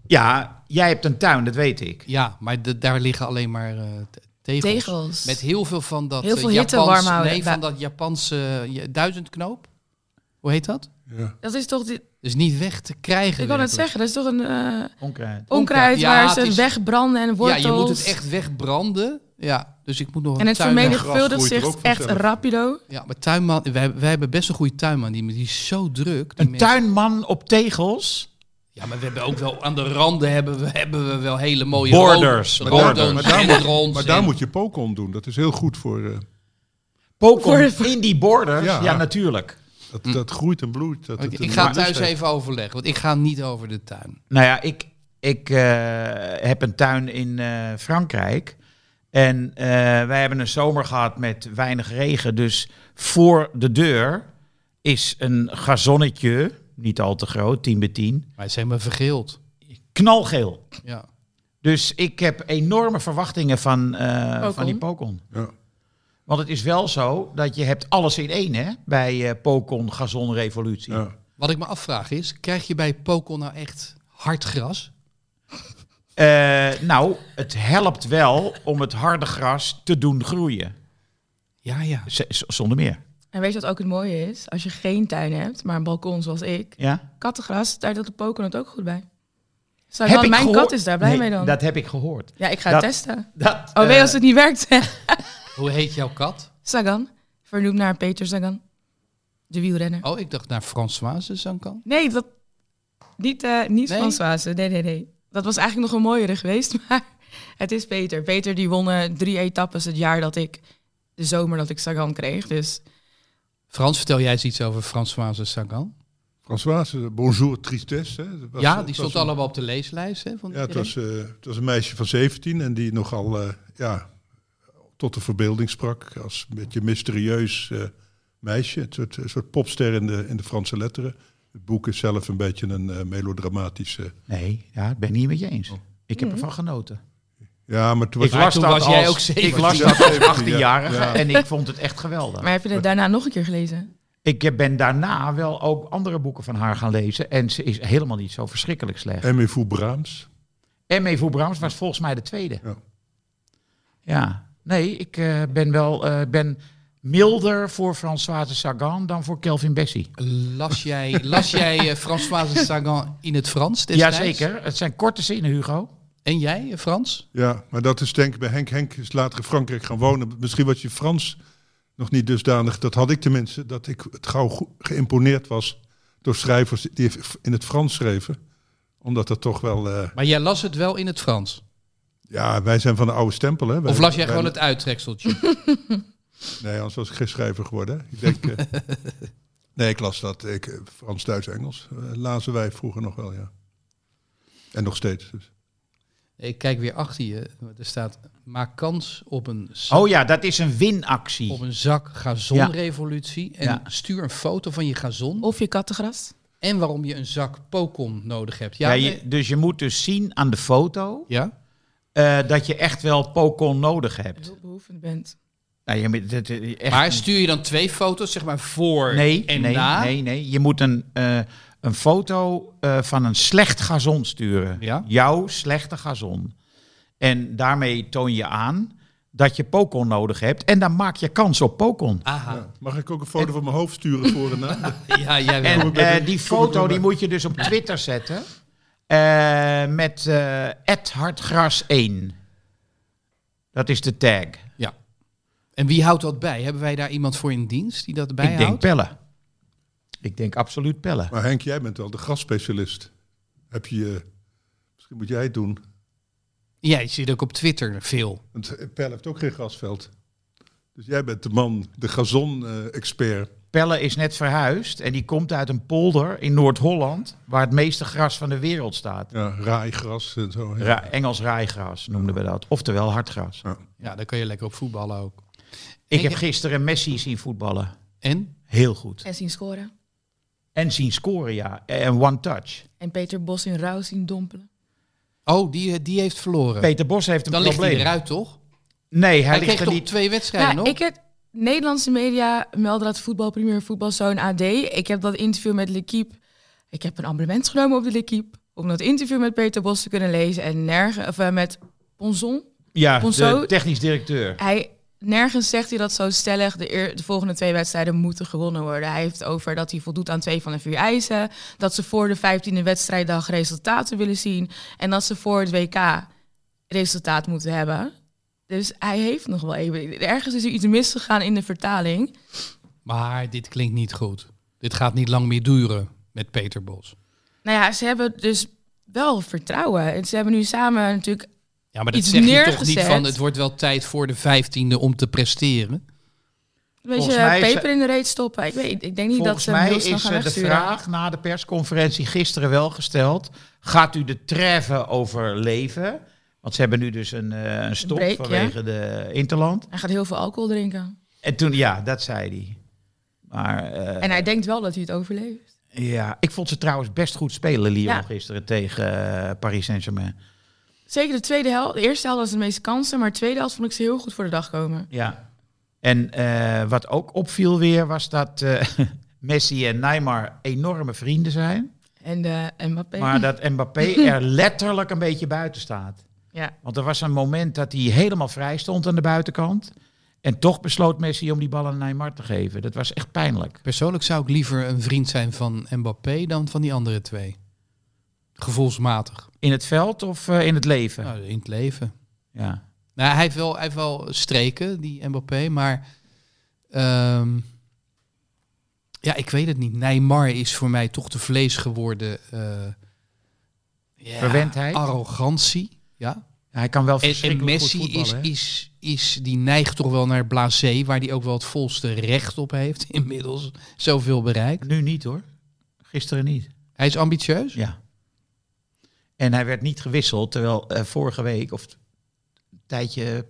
[SPEAKER 3] Ja, jij hebt een tuin, dat weet ik.
[SPEAKER 5] Ja, maar de- daar liggen alleen maar eh, te- tegels.
[SPEAKER 6] Tegels.
[SPEAKER 5] Met heel veel van dat
[SPEAKER 6] Heel
[SPEAKER 5] eh,
[SPEAKER 6] veel hitte
[SPEAKER 5] Japans,
[SPEAKER 6] warm houden.
[SPEAKER 5] Nee, van dat Japanse eh, duizendknoop. Hoe heet dat?
[SPEAKER 7] Ja.
[SPEAKER 6] Dat is toch, die-
[SPEAKER 5] Dus niet weg te krijgen.
[SPEAKER 6] ik kan het
[SPEAKER 5] werkelijk.
[SPEAKER 6] zeggen, dat is toch een eh,
[SPEAKER 3] Onkruid.
[SPEAKER 6] onkruid
[SPEAKER 5] Ja,
[SPEAKER 6] waar
[SPEAKER 5] het
[SPEAKER 6] ze
[SPEAKER 5] is-
[SPEAKER 6] wegbranden en wortels.
[SPEAKER 5] Ja, je moet het echt wegbranden. Ja, dus ik moet nog een
[SPEAKER 6] En het
[SPEAKER 5] tuinman-
[SPEAKER 6] vermenigvuldigt
[SPEAKER 7] Gras groeit er
[SPEAKER 6] zich
[SPEAKER 7] ook
[SPEAKER 6] echt
[SPEAKER 7] vanzelf.
[SPEAKER 6] rapido.
[SPEAKER 5] Ja, maar tuinman, wij, wij hebben best een goede tuinman. Die, die is zo druk. Die
[SPEAKER 3] Een
[SPEAKER 5] mensen-
[SPEAKER 3] tuinman op tegels?
[SPEAKER 5] Ja, maar we hebben ook wel aan de randen hebben we, hebben we wel hele mooie
[SPEAKER 3] Borders,
[SPEAKER 5] rond-
[SPEAKER 7] Maar daar-
[SPEAKER 5] rondons
[SPEAKER 7] maar daar
[SPEAKER 5] en
[SPEAKER 7] moet-
[SPEAKER 5] ronds
[SPEAKER 7] Maar daar
[SPEAKER 5] en-
[SPEAKER 7] moet je pokon doen. Dat is heel goed voor... eh,
[SPEAKER 3] Pokon
[SPEAKER 6] Voor-
[SPEAKER 3] in die borders? Ja,
[SPEAKER 7] Ja.
[SPEAKER 3] natuurlijk.
[SPEAKER 7] dat, dat groeit en bloeit. Dat,
[SPEAKER 5] Ik,
[SPEAKER 7] het
[SPEAKER 5] Hm. ik
[SPEAKER 7] een
[SPEAKER 5] ga
[SPEAKER 7] lust
[SPEAKER 5] thuis
[SPEAKER 7] heeft.
[SPEAKER 5] even overleggen, want ik ga niet over de tuin.
[SPEAKER 3] Nou ja, ik, ik eh, heb een tuin in eh, Frankrijk. En eh, wij hebben een zomer gehad met weinig regen. Dus voor de deur is een gazonnetje, niet al te groot, 10 bij 10,
[SPEAKER 5] Maar ze hebben me vergeeld.
[SPEAKER 3] knalgeel.
[SPEAKER 5] Ja.
[SPEAKER 3] Dus ik heb enorme verwachtingen van, eh, van die Pokon.
[SPEAKER 7] Ja.
[SPEAKER 3] Want het is wel zo dat je hebt alles in één hè, bij eh Pokon Gazon Revolutie.
[SPEAKER 7] Ja.
[SPEAKER 5] Wat ik me afvraag is, krijg je bij Pokon nou echt hard gras?
[SPEAKER 3] Eh, nou, het helpt wel om het harde gras te doen groeien.
[SPEAKER 5] Ja, ja.
[SPEAKER 3] Z- z- zonder meer.
[SPEAKER 6] En weet je wat ook het mooie is? Als je geen tuin hebt, maar een balkon zoals ik.
[SPEAKER 3] Ja?
[SPEAKER 6] Kattengras, daar doet de poker het ook goed bij. Dus hij
[SPEAKER 3] Heb
[SPEAKER 6] kan-
[SPEAKER 3] ik
[SPEAKER 6] mijn
[SPEAKER 3] gehoor-
[SPEAKER 6] kat is daar blij
[SPEAKER 3] Nee,
[SPEAKER 6] mee dan.
[SPEAKER 3] Dat heb ik gehoord.
[SPEAKER 6] Ja, ik ga
[SPEAKER 3] dat-
[SPEAKER 6] het testen.
[SPEAKER 3] Dat,
[SPEAKER 6] Oh, weet je
[SPEAKER 3] eh,
[SPEAKER 6] als het niet werkt?
[SPEAKER 5] Hoe heet jouw kat?
[SPEAKER 6] Sagan, vernoemd naar Peter Sagan, de wielrenner.
[SPEAKER 5] Oh, ik dacht naar Françoise Zankan.
[SPEAKER 6] Nee, dat, niet, eh niet
[SPEAKER 5] Nee?
[SPEAKER 6] Frans Wazen. Nee, nee, nee. Dat was eigenlijk nog een mooiere geweest, maar het is Peter. Peter die won eh, drie etappes het jaar dat ik, de zomer dat ik Sagan kreeg. Dus
[SPEAKER 5] Frans, vertel jij eens iets over Françoise Zankan?
[SPEAKER 7] Françoise, bonjour tristesse. Hè? Dat was-
[SPEAKER 5] Ja, die
[SPEAKER 7] dat was
[SPEAKER 5] stond
[SPEAKER 7] een-
[SPEAKER 5] allemaal op de leeslijst. Hè, van
[SPEAKER 7] Ja, het was, eh, het was een meisje van 17 en die nogal eh, ja, tot de verbeelding sprak. Als een beetje mysterieus eh, meisje. Een soort, een soort popster in de, in de Franse letteren. Het boek is zelf een beetje een eh, melodramatische.
[SPEAKER 8] Nee, ja, ik ben het niet met je eens. Ik
[SPEAKER 6] Mhm.
[SPEAKER 8] heb ervan genoten.
[SPEAKER 7] Ja, maar Oh. toen was
[SPEAKER 3] Ik las
[SPEAKER 5] toen
[SPEAKER 3] dat
[SPEAKER 5] was jij
[SPEAKER 3] als-
[SPEAKER 5] ook zeventien.
[SPEAKER 3] Ik las
[SPEAKER 7] Ja,
[SPEAKER 3] dat als
[SPEAKER 7] zeventien,
[SPEAKER 3] 18-jarige
[SPEAKER 7] ja.
[SPEAKER 3] en ik vond het echt geweldig.
[SPEAKER 6] Maar heb je het daarna nog een keer gelezen?
[SPEAKER 8] Ik ben
[SPEAKER 3] daarna wel ook andere boeken van haar gaan lezen. En ze is helemaal niet zo verschrikkelijk slecht.
[SPEAKER 7] Aimé Fou Braams.
[SPEAKER 3] M.E. voor Brahms was volgens mij de tweede.
[SPEAKER 7] Ja.
[SPEAKER 3] Ja. Nee, ik eh, ben wel eh, ben milder voor Françoise Sagan dan voor Kelvin Bessie.
[SPEAKER 5] Las jij, las jij eh, Françoise Sagan in het Frans destijds?
[SPEAKER 3] Jazeker. Het zijn korte zinnen, Hugo.
[SPEAKER 5] En jij, eh, Frans?
[SPEAKER 7] Ja, maar dat is denk ik bij Henk. Henk is later in Frankrijk gaan wonen. Misschien was je Frans nog niet dusdanig. Dat had ik tenminste. Dat ik het gauw go- geïmponeerd was door schrijvers die in het Frans schreven. Omdat dat toch wel... eh,
[SPEAKER 5] Maar jij las het wel in het Frans?
[SPEAKER 7] Ja, wij zijn van de oude stempel. Hè? Wij-
[SPEAKER 5] Of las jij
[SPEAKER 7] wij-
[SPEAKER 5] gewoon het uittrekseltje?
[SPEAKER 7] Nee, anders was ik geen schrijver geworden. hè. Ik denk, eh, nee, ik las dat. Ik, eh, Frans, Duits, Engels. eh, lazen wij vroeger nog wel, ja. En nog steeds. Dus.
[SPEAKER 5] ik kijk weer achter je. Er staat, maak kans op een zak,
[SPEAKER 3] Oh ja, dat is een
[SPEAKER 5] op
[SPEAKER 3] winactie.
[SPEAKER 5] een zak gazonrevolutie. En
[SPEAKER 3] Ja. Oh.
[SPEAKER 5] stuur een foto van je gazon.
[SPEAKER 6] Of je kattengras?
[SPEAKER 5] En waarom je een zak pokon nodig hebt.
[SPEAKER 3] Ja,
[SPEAKER 5] Ja,
[SPEAKER 3] je- dus je moet dus zien aan de foto
[SPEAKER 5] ja?
[SPEAKER 3] eh, dat je echt wel Pocon nodig hebt.
[SPEAKER 6] Hulpbehoevend bent.
[SPEAKER 3] Nou, je, moet- dat- dat- echt,
[SPEAKER 5] Maar stuur je dan twee foto's, zeg maar voor
[SPEAKER 3] nee,
[SPEAKER 5] en
[SPEAKER 3] nee,
[SPEAKER 5] na?
[SPEAKER 3] nee, nee. Je moet een, eh, een foto eh, van een slecht gazon sturen.
[SPEAKER 5] Ja.
[SPEAKER 3] Jouw slechte gazon. En daarmee toon je aan dat je Pocon nodig hebt. En dan maak je kans op
[SPEAKER 7] Ah,
[SPEAKER 3] Pocon.
[SPEAKER 5] Aha,
[SPEAKER 7] Mag ik ook een foto van mijn hoofd sturen voor en na?
[SPEAKER 5] ja, jij wel.
[SPEAKER 3] En
[SPEAKER 7] ik bij
[SPEAKER 3] eh, die
[SPEAKER 7] de- kom ik bij
[SPEAKER 3] foto
[SPEAKER 7] de-
[SPEAKER 3] die moet je dus op Twitter zetten. Eh, met eh @hartgras1. Dat is de tag.
[SPEAKER 5] Ja. En wie houdt dat bij? Hebben wij daar iemand voor in dienst die dat
[SPEAKER 3] Ik denk
[SPEAKER 5] bijhoudt?
[SPEAKER 3] pellen. Ik denk absoluut pellen.
[SPEAKER 7] Maar Henk, jij bent wel de gastspecialist. Heb je... eh, misschien moet jij het doen.
[SPEAKER 5] Jij zit ook op Twitter veel.
[SPEAKER 7] Want eh, Pel heeft ook geen grasveld. Dus jij bent de man, de gazon-expert.
[SPEAKER 3] Pelle is net verhuisd en die komt uit een polder in Noord-Holland... waar het meeste gras van de wereld staat.
[SPEAKER 7] ja, raaigras en zo. ja.
[SPEAKER 3] Ra- Engels raaigras noemden we dat. Oftewel hardgras.
[SPEAKER 5] Ja, daar kan je lekker op voetballen ook.
[SPEAKER 3] Ik heb gisteren Messi zien voetballen.
[SPEAKER 5] En?
[SPEAKER 3] Heel goed.
[SPEAKER 6] En zien scoren.
[SPEAKER 3] En zien scoren, ja. En one touch.
[SPEAKER 6] En Peter Bos in rouw zien dompelen.
[SPEAKER 5] Oh, die, die heeft verloren.
[SPEAKER 3] Peter Bos heeft een
[SPEAKER 5] dan ligt hij
[SPEAKER 3] probleem.
[SPEAKER 5] eruit, toch?
[SPEAKER 3] Nee, hij,
[SPEAKER 5] Hij,
[SPEAKER 3] ligt
[SPEAKER 5] kreeg
[SPEAKER 3] er
[SPEAKER 5] toch
[SPEAKER 3] niet
[SPEAKER 5] twee wedstrijden
[SPEAKER 6] nou,
[SPEAKER 5] nog?
[SPEAKER 6] ik heb, Nederlandse media melden dat voetbalpremier voetbalzoon AD. Ik heb dat interview met L'Equipe. Ik heb een abonnement genomen op de L'Equipe. Om dat interview met Peter Bos te kunnen lezen. En nergens, of eh, met Ponzon.
[SPEAKER 3] Ja,
[SPEAKER 6] Ponzo-
[SPEAKER 3] de technisch directeur.
[SPEAKER 6] Hij, nergens zegt hij dat zo stellig. De, eer- de volgende twee wedstrijden moeten gewonnen worden. Hij heeft over dat hij voldoet aan twee van de vier eisen. Dat ze voor de vijftiende wedstrijddag resultaten willen zien. En dat ze voor het WK resultaat moeten hebben. Dus hij heeft nog wel even. Ergens is er iets misgegaan in de vertaling.
[SPEAKER 5] Maar dit klinkt niet goed. Dit gaat niet lang meer duren met Peter Bos.
[SPEAKER 6] Nou ja, ze hebben dus wel vertrouwen. En ze hebben nu samen natuurlijk.
[SPEAKER 5] Ja, maar dat
[SPEAKER 6] Iets
[SPEAKER 5] zeg je toch niet
[SPEAKER 6] neergezet.
[SPEAKER 5] van... het wordt wel tijd voor de vijftiende om te presteren.
[SPEAKER 6] Een beetje
[SPEAKER 3] Volgens mij is-
[SPEAKER 6] peper in de reet stoppen. Ik, weet, ik denk niet
[SPEAKER 3] Volgens
[SPEAKER 6] dat ze hem
[SPEAKER 3] mij
[SPEAKER 6] heel snel
[SPEAKER 3] is
[SPEAKER 6] gaan
[SPEAKER 3] eh, de
[SPEAKER 6] wegsturen.
[SPEAKER 3] vraag na de persconferentie gisteren wel gesteld. Gaat u de treffen overleven? Want ze hebben nu dus een, eh, een stop
[SPEAKER 6] break, ja.
[SPEAKER 3] vanwege de Interland.
[SPEAKER 6] Hij gaat heel veel alcohol drinken.
[SPEAKER 3] En toen, ja, dat zei hij. Maar eh,
[SPEAKER 6] En hij denkt wel dat hij het overleeft.
[SPEAKER 3] ja, ik vond ze trouwens best goed spelen, Lyon,
[SPEAKER 6] Ja.
[SPEAKER 3] gisteren tegen eh, Paris Saint-Germain.
[SPEAKER 6] Zeker de tweede helft. De eerste helft was de meeste kansen, maar de tweede helft vond ik ze heel goed voor de dag komen.
[SPEAKER 3] Ja. En eh, wat ook opviel weer, was dat eh, Messi en Neymar enorme vrienden zijn.
[SPEAKER 6] En, eh en Mbappé.
[SPEAKER 3] Maar dat Mbappé er letterlijk een beetje buiten staat.
[SPEAKER 6] Ja.
[SPEAKER 3] Want er was een moment dat hij helemaal vrij stond aan de buitenkant. En toch besloot Messi om die bal aan Neymar te geven. Dat was echt pijnlijk.
[SPEAKER 5] Persoonlijk zou ik liever een vriend zijn van Mbappé dan van die andere twee. Gevoelsmatig.
[SPEAKER 3] In het veld of eh, in het leven?
[SPEAKER 5] Nou, in het leven.
[SPEAKER 3] Ja.
[SPEAKER 5] Nou, hij, heeft wel, hij heeft wel streken, die Mbappé, maar Ehm, ja, ik weet het niet. Neymar is voor mij toch de vlees geworden. eh, ja,
[SPEAKER 9] Verwendheid.
[SPEAKER 5] Arrogantie. Ja.
[SPEAKER 9] Hij kan wel
[SPEAKER 5] En, en
[SPEAKER 9] verschrikkelijk goed
[SPEAKER 5] Messi is,
[SPEAKER 9] voetballen. hè?
[SPEAKER 5] is, is, die neigt toch wel naar blasé, waar hij ook wel het volste recht op heeft inmiddels. Zoveel bereikt.
[SPEAKER 3] Nu niet hoor. Gisteren niet.
[SPEAKER 5] Hij is ambitieus.
[SPEAKER 3] Ja. En hij werd niet gewisseld, terwijl eh, vorige week of een tijdje,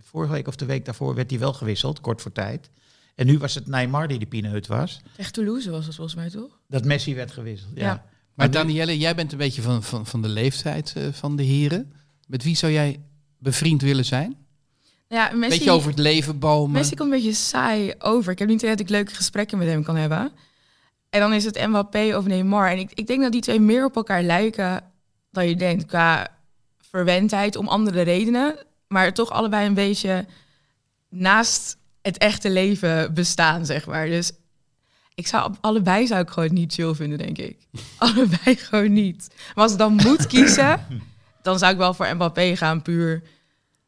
[SPEAKER 3] vorige week of de week daarvoor werd hij wel gewisseld, kort voor tijd. En nu was het Neymar die de pineut was,
[SPEAKER 6] Echt Toulouse was dat volgens mij toch?
[SPEAKER 3] dat Messi werd gewisseld. Ja.
[SPEAKER 6] Ja.
[SPEAKER 5] Maar Danielle, jij bent een beetje van, van, van de leeftijd eh, van de heren. Met wie zou jij bevriend willen zijn?
[SPEAKER 6] Ja, Messi,
[SPEAKER 5] beetje over het leven bomen.
[SPEAKER 6] Messi komt een beetje saai over. Ik heb niet het idee dat ik leuke gesprekken met hem kan hebben. En dan is het Mbappé of Neymar. En ik, ik denk dat die twee meer op elkaar lijken dan je denkt. Qua verwendheid om andere redenen. Maar toch allebei een beetje naast het echte leven bestaan, zeg maar. Dus ik zou, allebei zou ik gewoon niet chill vinden, denk ik. allebei gewoon niet. Maar als ik dan moet kiezen, dan zou ik wel voor Mbappé gaan, puur...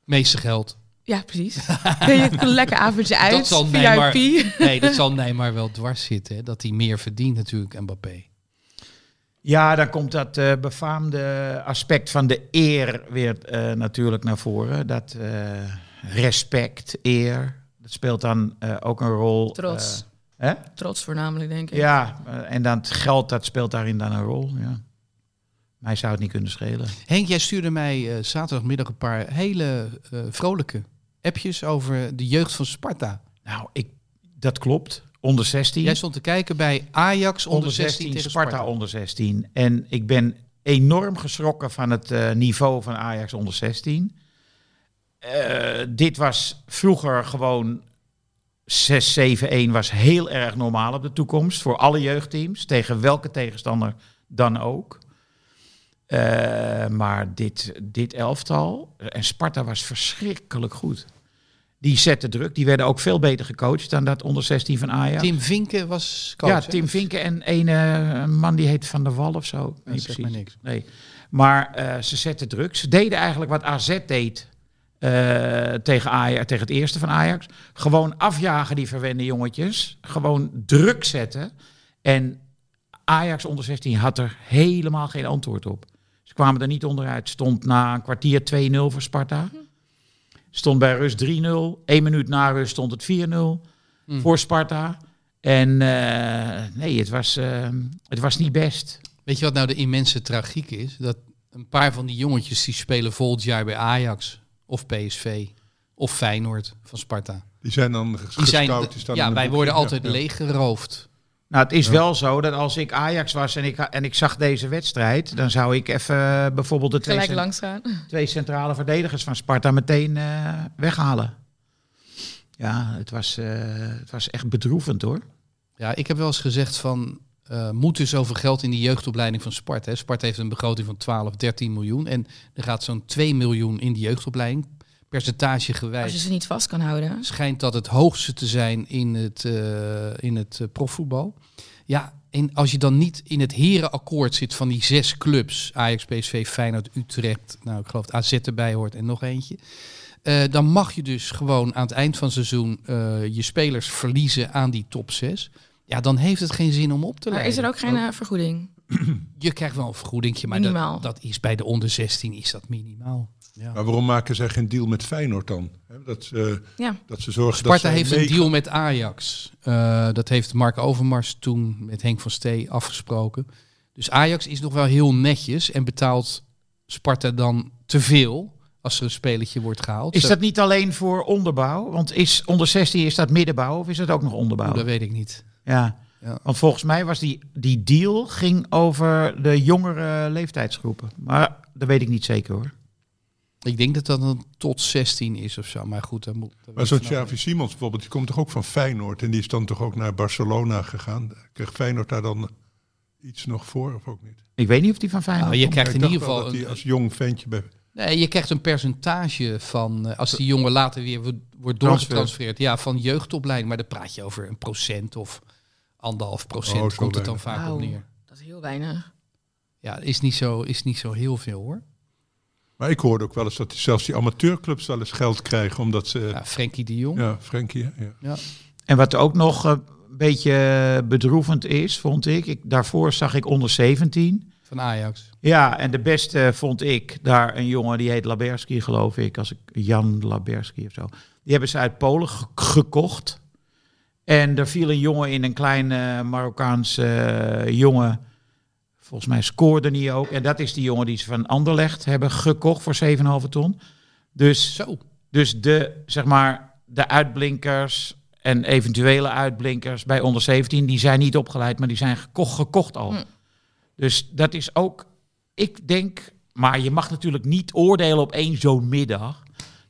[SPEAKER 5] Meeste geld.
[SPEAKER 6] Ja, precies. Kun je een lekker avondje uit,
[SPEAKER 5] dat zal
[SPEAKER 6] VIP.
[SPEAKER 5] Neymar, Eh. nee, dat zal Neymar wel dwars zitten. Hè? Dat hij meer verdient natuurlijk, Mbappé.
[SPEAKER 3] Ja, dan komt dat eh, befaamde aspect van de eer weer eh, natuurlijk naar voren. Dat eh, respect, eer, dat speelt dan eh, ook een rol.
[SPEAKER 6] Trots.
[SPEAKER 3] eh, hè?
[SPEAKER 6] Trots voornamelijk, denk ik.
[SPEAKER 3] Ja, eh, en dan het geld, dat speelt daarin dan een rol. Ja. Mij zou het niet kunnen schelen.
[SPEAKER 5] Henk, jij stuurde mij eh, zaterdagmiddag een paar hele eh, vrolijke appjes over de jeugd van Sparta.
[SPEAKER 3] Nou, ik, dat klopt. Onder 16.
[SPEAKER 5] Jij stond te kijken bij Ajax onder, 16, tegen
[SPEAKER 3] Sparta,
[SPEAKER 5] Sparta.
[SPEAKER 3] onder 16. En ik ben enorm geschrokken van het eh, niveau van Ajax onder 16. Eh, dit was vroeger gewoon 6-7-1 was heel erg normaal op de toekomst voor alle jeugdteams, tegen welke tegenstander dan ook. Eh, maar dit, dit elftal, en Sparta was verschrikkelijk goed. Die zette druk, die werden ook veel beter gecoacht dan dat onder 16 van Ajax.
[SPEAKER 5] Tim Vinken was coach.
[SPEAKER 3] Ja,
[SPEAKER 5] hè?
[SPEAKER 3] Tim Vinken en een eh, man die heet Van der Wal of zo.
[SPEAKER 5] Dat
[SPEAKER 3] Niet
[SPEAKER 5] zegt
[SPEAKER 3] precies.
[SPEAKER 5] mij niks.
[SPEAKER 3] Nee. Maar eh, ze zetten druk. Ze deden eigenlijk wat AZ deed eh, tegen, Ajax, tegen het eerste van Ajax. Gewoon afjagen die verwende jongetjes. Gewoon druk zetten. En Ajax onder 16 had er helemaal geen antwoord op. Ze kwamen er niet onderuit. Stond na een kwartier 2-0 voor Sparta. Stond bij rust 3-0. Eén minuut na rust stond het 4-0 voor Sparta. En eh, nee, het was, eh, het was niet best.
[SPEAKER 5] Weet je wat nou de immense tragiek is? Dat een paar van die jongetjes die spelen volgend jaar bij Ajax of PSV of Feyenoord van Sparta.
[SPEAKER 7] Die zijn dan
[SPEAKER 5] Die
[SPEAKER 7] gescout.
[SPEAKER 5] zijn,
[SPEAKER 7] die staan in
[SPEAKER 5] ja,
[SPEAKER 7] een
[SPEAKER 5] wij
[SPEAKER 7] boekje.
[SPEAKER 5] worden
[SPEAKER 7] Ja,
[SPEAKER 5] altijd
[SPEAKER 7] ja.
[SPEAKER 5] leeggeroofd.
[SPEAKER 3] Nou, het is wel zo dat als ik Ajax was en ik, ha- en ik zag deze wedstrijd, dan zou ik even eh, bijvoorbeeld de twee,
[SPEAKER 6] Gelijk
[SPEAKER 3] cen-
[SPEAKER 6] langs gaan.
[SPEAKER 3] twee centrale verdedigers van Sparta meteen eh, weghalen. Ja, het was, eh, het was echt bedroevend hoor.
[SPEAKER 5] Ja, ik heb wel eens gezegd van... eh moet er zoveel geld in die jeugdopleiding van Sparta? Hè? Sparta heeft een begroting van 12, 13 miljoen. En er gaat zo'n 2 miljoen in die jeugdopleiding. Percentage
[SPEAKER 6] Als je
[SPEAKER 5] gewijs
[SPEAKER 6] ze niet vast kan houden.
[SPEAKER 5] schijnt dat het hoogste te zijn in het, eh, in het eh, profvoetbal. Ja, en als je dan niet in het herenakkoord zit van die zes clubs... Ajax, PSV, Feyenoord, Utrecht, nou ik geloof dat AZ erbij hoort en nog eentje... eh, dan mag je dus gewoon aan het eind van het seizoen eh, je spelers verliezen aan die top 6. Ja, dan heeft het geen zin om op te
[SPEAKER 6] Maar
[SPEAKER 5] leiden. Oh,
[SPEAKER 6] is er ook geen eh, vergoeding?
[SPEAKER 5] Je krijgt wel een vergoedingje, maar
[SPEAKER 6] Minimaal.
[SPEAKER 5] dat, dat is bij de onder 16 is dat minimaal. Ja.
[SPEAKER 7] Maar waarom maken zij geen deal met Feyenoord dan? Hè, Dat, ze-
[SPEAKER 6] Ja.
[SPEAKER 7] dat ze zorgen
[SPEAKER 5] Sparta
[SPEAKER 7] dat zij
[SPEAKER 5] heeft een
[SPEAKER 7] mee-
[SPEAKER 5] deal met Ajax. Eh, dat heeft Mark Overmars toen met Henk van Stee afgesproken. Dus Ajax is nog wel heel netjes en betaalt Sparta dan te veel als er een spelletje wordt gehaald.
[SPEAKER 3] Is
[SPEAKER 5] Zo-
[SPEAKER 3] dat niet alleen voor onderbouw? Want is onder 16 is dat middenbouw of is dat ook nog
[SPEAKER 5] Oeh, Nou, dat
[SPEAKER 3] onderbouw?
[SPEAKER 5] weet ik niet.
[SPEAKER 3] Ja.
[SPEAKER 5] Ja.
[SPEAKER 3] Want volgens mij was die, die deal ging over de jongere leeftijdsgroepen. Maar dat weet ik niet zeker hoor.
[SPEAKER 5] Ik denk dat dat dan tot 16 is of zo. Maar goed, dat moet. dat
[SPEAKER 7] Maar
[SPEAKER 5] weet
[SPEAKER 7] zo'n
[SPEAKER 5] ik nou
[SPEAKER 7] Xavi Simons bijvoorbeeld, die komt toch ook van Feyenoord en die is dan toch ook naar Barcelona gegaan. Kreeg Feyenoord daar dan iets nog voor of ook niet?
[SPEAKER 3] Ik weet niet of die van
[SPEAKER 5] niet.
[SPEAKER 3] Feyenoord
[SPEAKER 5] Nou, je
[SPEAKER 3] komt.
[SPEAKER 5] krijgt
[SPEAKER 7] Maar
[SPEAKER 5] in
[SPEAKER 7] ik
[SPEAKER 5] ieder
[SPEAKER 7] dacht wel
[SPEAKER 5] geval
[SPEAKER 7] dat
[SPEAKER 5] een,
[SPEAKER 7] hij als jong ventje bij
[SPEAKER 5] Nee, je krijgt een percentage van, eh, als die jongen later weer wo- wordt
[SPEAKER 3] Transfer.
[SPEAKER 5] doorgetransfereerd, ja, van jeugdopleiding. Maar dan praat je over een procent of anderhalf
[SPEAKER 7] Oh,
[SPEAKER 5] procent,
[SPEAKER 7] zo
[SPEAKER 5] komt het dan
[SPEAKER 7] weinig.
[SPEAKER 5] vaak op
[SPEAKER 6] Wauw.
[SPEAKER 5] neer.
[SPEAKER 6] Dat is heel weinig.
[SPEAKER 5] Ja, is niet zo, is niet zo heel veel hoor.
[SPEAKER 7] Maar ik hoorde ook wel eens dat die, zelfs die amateurclubs wel eens geld krijgen, omdat ze... Ja,
[SPEAKER 5] Ja, Frenkie de Jong.
[SPEAKER 7] Frenkie, hè? ja.
[SPEAKER 5] Ja.
[SPEAKER 3] En wat ook nog eh, een beetje bedroevend is, vond ik, ik. Daarvoor zag ik onder 17.
[SPEAKER 5] van Ajax.
[SPEAKER 3] Ja, en de beste vond ik daar een jongen die heet Laberski, geloof ik. Als ik Jan Laberski of zo. Die hebben ze uit Polen ge- gekocht. En er viel een jongen in, een kleine Marokkaanse eh, jongen. Volgens mij scoorde hij ook. En dat is die jongen die ze van Anderlecht hebben gekocht voor 7,5 ton. Dus
[SPEAKER 5] Zo.
[SPEAKER 3] dus de, zeg maar, de uitblinkers en eventuele uitblinkers bij onder 17, die zijn niet opgeleid, maar die zijn gekocht, gekocht al.
[SPEAKER 6] Hm.
[SPEAKER 3] Dus dat is ook, ik denk, maar je mag natuurlijk niet oordelen op één zo'n middag.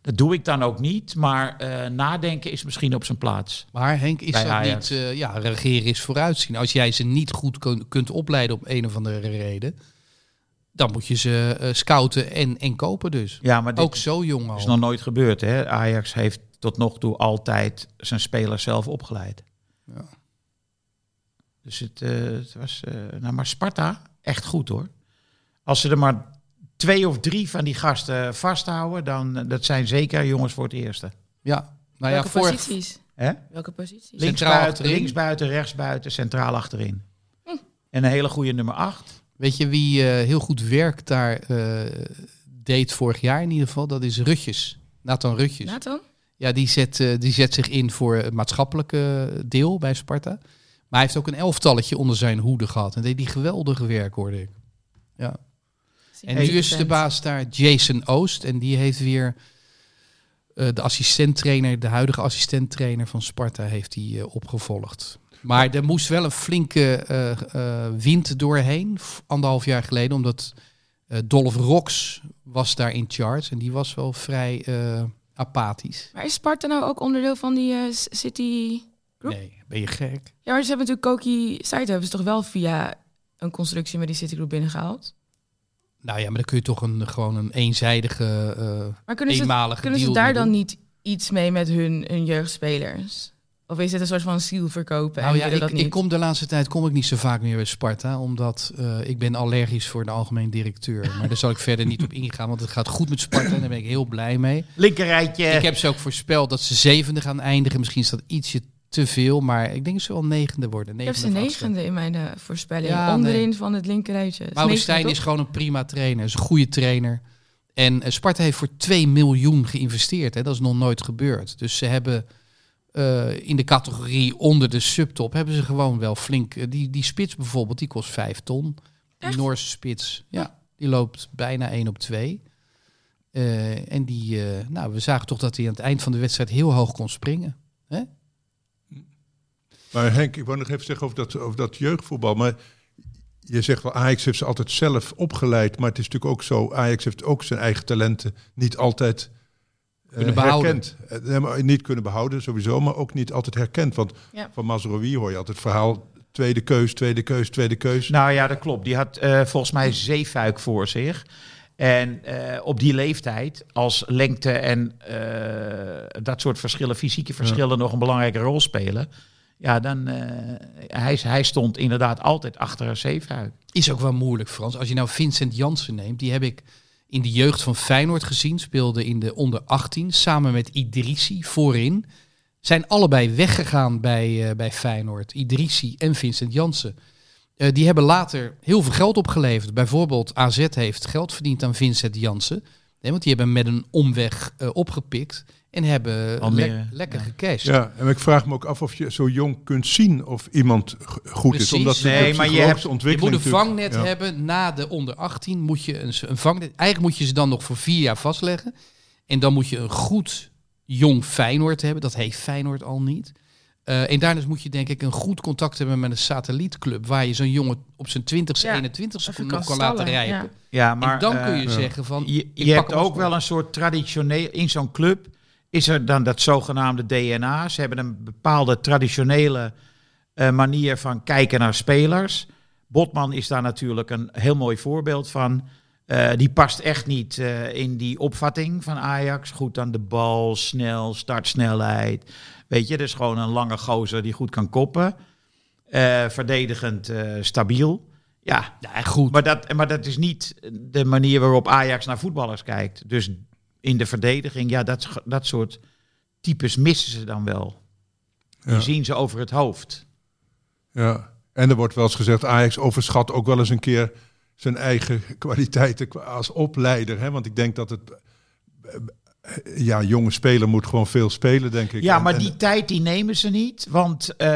[SPEAKER 3] Dat doe ik dan ook niet, maar eh, nadenken is misschien op zijn plaats.
[SPEAKER 5] Maar Henk, is
[SPEAKER 3] Bij
[SPEAKER 5] dat
[SPEAKER 3] Ajax.
[SPEAKER 5] niet, eh, ja, regeren is vooruitzien. Als jij ze niet goed kun- kunt opleiden om een of andere reden, dan moet je ze eh, scouten en, en kopen dus.
[SPEAKER 3] Ja, maar dit
[SPEAKER 5] Ook zo jong al.
[SPEAKER 3] is nog nooit gebeurd. Hè? Ajax heeft tot nog toe altijd zijn spelers zelf opgeleid.
[SPEAKER 5] Ja.
[SPEAKER 3] Dus het, eh, het was. eh, nou, maar Sparta, echt goed hoor. Als ze er maar twee of drie van die gasten vasthouden, dan eh, dat zijn zeker jongens voor het eerste.
[SPEAKER 5] Ja, nou ja,
[SPEAKER 6] Welke
[SPEAKER 5] vorig-
[SPEAKER 6] posities?
[SPEAKER 3] Hè?
[SPEAKER 6] Welke posities?
[SPEAKER 3] Links
[SPEAKER 5] Centraal
[SPEAKER 3] buiten,
[SPEAKER 5] achterin.
[SPEAKER 3] links buiten, rechts buiten, centraal achterin. En een hele goede nummer acht.
[SPEAKER 5] Weet je wie eh, heel goed werk daar eh, deed vorig jaar in ieder geval? Dat is Rutjes. Nathan Rutjes.
[SPEAKER 6] Nathan?
[SPEAKER 5] Ja, die zet, eh, die zet zich in voor het maatschappelijke deel bij Sparta. Maar hij heeft ook een elftalletje onder zijn hoede gehad. En deed die geweldige werk, hoorde ik. En nu is de baas daar Jason Oost. En die heeft weer eh, de assistenttrainer, de huidige assistenttrainer van Sparta, heeft die eh, opgevolgd. Maar er moest wel een flinke eh, eh, wind doorheen, f- anderhalf jaar geleden, omdat eh, Dolph Rox was daar in charge. En die was wel vrij eh, apathisch.
[SPEAKER 6] Maar is Sparta nou ook onderdeel van die eh, S- City... Klopt.
[SPEAKER 5] Nee, ben je gek?
[SPEAKER 6] Ja, maar ze hebben natuurlijk Koki Saito hebben ze toch wel via een constructie met die City Group binnengehaald?
[SPEAKER 5] Nou ja, maar dan kun je toch een, gewoon een eenzijdige, eh
[SPEAKER 6] Maar kunnen ze,
[SPEAKER 5] eenmalige
[SPEAKER 6] kunnen ze
[SPEAKER 5] deal
[SPEAKER 6] daar
[SPEAKER 5] mee
[SPEAKER 6] dan
[SPEAKER 5] doen.
[SPEAKER 6] niet iets mee met hun, hun jeugdspelers? Of is het een soort van ziel verkopen?
[SPEAKER 5] Nou
[SPEAKER 6] en
[SPEAKER 5] ja,
[SPEAKER 6] willen
[SPEAKER 5] ik,
[SPEAKER 6] dat niet?
[SPEAKER 5] ik kom de laatste tijd kom ik niet zo vaak meer bij Sparta, omdat eh, ik ben allergisch voor de algemeen directeur. Maar daar zal ik verder niet op ingaan, want het gaat goed met Sparta en daar ben ik heel blij mee.
[SPEAKER 3] Linkerrijtje.
[SPEAKER 5] Ik heb ze ook voorspeld dat ze zevende gaan eindigen. Misschien is dat ietsje te veel, maar ik denk dat ze wel negende worden.
[SPEAKER 6] Ik heb
[SPEAKER 5] Negende
[SPEAKER 6] ze
[SPEAKER 5] of achtste.
[SPEAKER 6] negende in mijn eh, voorspelling.
[SPEAKER 5] Ja,
[SPEAKER 6] Onderin
[SPEAKER 5] nee.
[SPEAKER 6] van het linkerrijtje. Is
[SPEAKER 5] Maurits
[SPEAKER 6] negende,
[SPEAKER 5] Stijn
[SPEAKER 6] toch?
[SPEAKER 5] is gewoon een prima trainer, is een goede trainer. En eh, Sparta heeft voor 2 miljoen geïnvesteerd. Hè. Dat is nog nooit gebeurd. Dus ze hebben eh, in de categorie onder de subtop hebben ze gewoon wel flink. eh, die, die spits bijvoorbeeld, die kost 5 ton. Die
[SPEAKER 6] Echt?
[SPEAKER 5] Noorse spits, ja, die loopt bijna 1 op 2. Eh, en die, eh, nou, we zagen toch dat hij aan het eind van de wedstrijd heel hoog kon springen.
[SPEAKER 7] Maar Henk, ik wou nog even zeggen over dat, over dat jeugdvoetbal. Maar je zegt wel, Ajax heeft ze altijd zelf opgeleid. Maar het is natuurlijk ook zo, Ajax heeft ook zijn eigen talenten niet altijd eh,
[SPEAKER 5] Kunnen behouden.
[SPEAKER 7] herkend. Eh, nee, maar niet kunnen behouden sowieso, maar ook niet altijd herkend. Want
[SPEAKER 6] Ja.
[SPEAKER 7] van Mazraoui hoor je altijd het verhaal, tweede keus, tweede keus, tweede keus.
[SPEAKER 3] Nou ja, dat klopt. Die had eh, volgens mij zeefuik voor zich. En eh, op die leeftijd, als lengte en eh, dat soort verschillen, fysieke verschillen, nog een belangrijke rol spelen. Ja, dan. eh, hij, hij stond inderdaad altijd achter zeefuik.
[SPEAKER 5] Is ook wel moeilijk, Frans. Als je nou Vincent Jansen neemt, die heb ik in de jeugd van Feyenoord gezien. Speelde in de onder 18 samen met Idrissi voorin. Zijn allebei weggegaan bij, eh, bij Feyenoord. Idrissi en Vincent Jansen. Eh, die hebben later heel veel geld opgeleverd. Bijvoorbeeld AZ heeft geld verdiend aan Vincent Jansen. Nee, want die hebben hem met een omweg eh, opgepikt. En hebben
[SPEAKER 3] Almere,
[SPEAKER 5] lek- lekker
[SPEAKER 3] ja.
[SPEAKER 5] gecashed.
[SPEAKER 7] Ja, en ik vraag me ook af of je zo jong kunt zien of iemand g- goed
[SPEAKER 5] Precies.
[SPEAKER 7] is. Omdat
[SPEAKER 5] Nee,
[SPEAKER 7] de
[SPEAKER 3] maar je
[SPEAKER 7] psychologische
[SPEAKER 3] hebt-
[SPEAKER 5] Je moet
[SPEAKER 7] ontwikkeling
[SPEAKER 5] een
[SPEAKER 7] natuurlijk-
[SPEAKER 5] vangnet
[SPEAKER 7] ja.
[SPEAKER 5] hebben na de onder 18. Moet je een, een vangnet, eigenlijk moet je ze dan nog voor vier jaar vastleggen. En dan moet je een goed jong Feyenoord hebben. Dat heeft Feyenoord al niet. Eh, en daarnaast moet je denk ik een goed contact hebben met een satellietclub. Waar je zo'n jongen op zijn 20ste,
[SPEAKER 6] Ja,
[SPEAKER 5] 21ste
[SPEAKER 6] Even
[SPEAKER 5] nog
[SPEAKER 6] kan
[SPEAKER 5] kan laten
[SPEAKER 6] stallen,
[SPEAKER 5] rijpen.
[SPEAKER 6] ja.
[SPEAKER 3] Ja, maar.
[SPEAKER 5] en dan kun
[SPEAKER 3] eh,
[SPEAKER 5] je zeggen van... ik
[SPEAKER 3] Je, je
[SPEAKER 5] pak
[SPEAKER 3] hebt
[SPEAKER 5] hem als
[SPEAKER 3] ook wel een soort traditioneel, in zo'n club is er dan dat zogenaamde DNA. Ze hebben een bepaalde traditionele eh, manier van kijken naar spelers. Botman is daar natuurlijk een heel mooi voorbeeld van. Eh, die past echt niet eh, in die opvatting van Ajax. Goed aan de bal, snel, startsnelheid. Weet je, dat is gewoon een lange gozer die goed kan koppen. Eh, verdedigend eh, stabiel. Ja,
[SPEAKER 5] Ja, goed.
[SPEAKER 3] maar dat, maar dat is niet de manier waarop Ajax naar voetballers kijkt. Dus in de verdediging, ja, dat, dat soort types missen ze dan wel.
[SPEAKER 7] Ja.
[SPEAKER 3] Die zien ze over het hoofd.
[SPEAKER 7] Ja. En er wordt wel eens gezegd, Ajax overschat ook wel eens een keer zijn eigen kwaliteiten qua- als opleider. Hè? Want ik denk dat het... eh, Ja, jonge speler moet gewoon veel spelen, denk ik.
[SPEAKER 3] Ja,
[SPEAKER 7] En-
[SPEAKER 3] maar
[SPEAKER 7] en-
[SPEAKER 3] die tijd die nemen ze niet, want eh,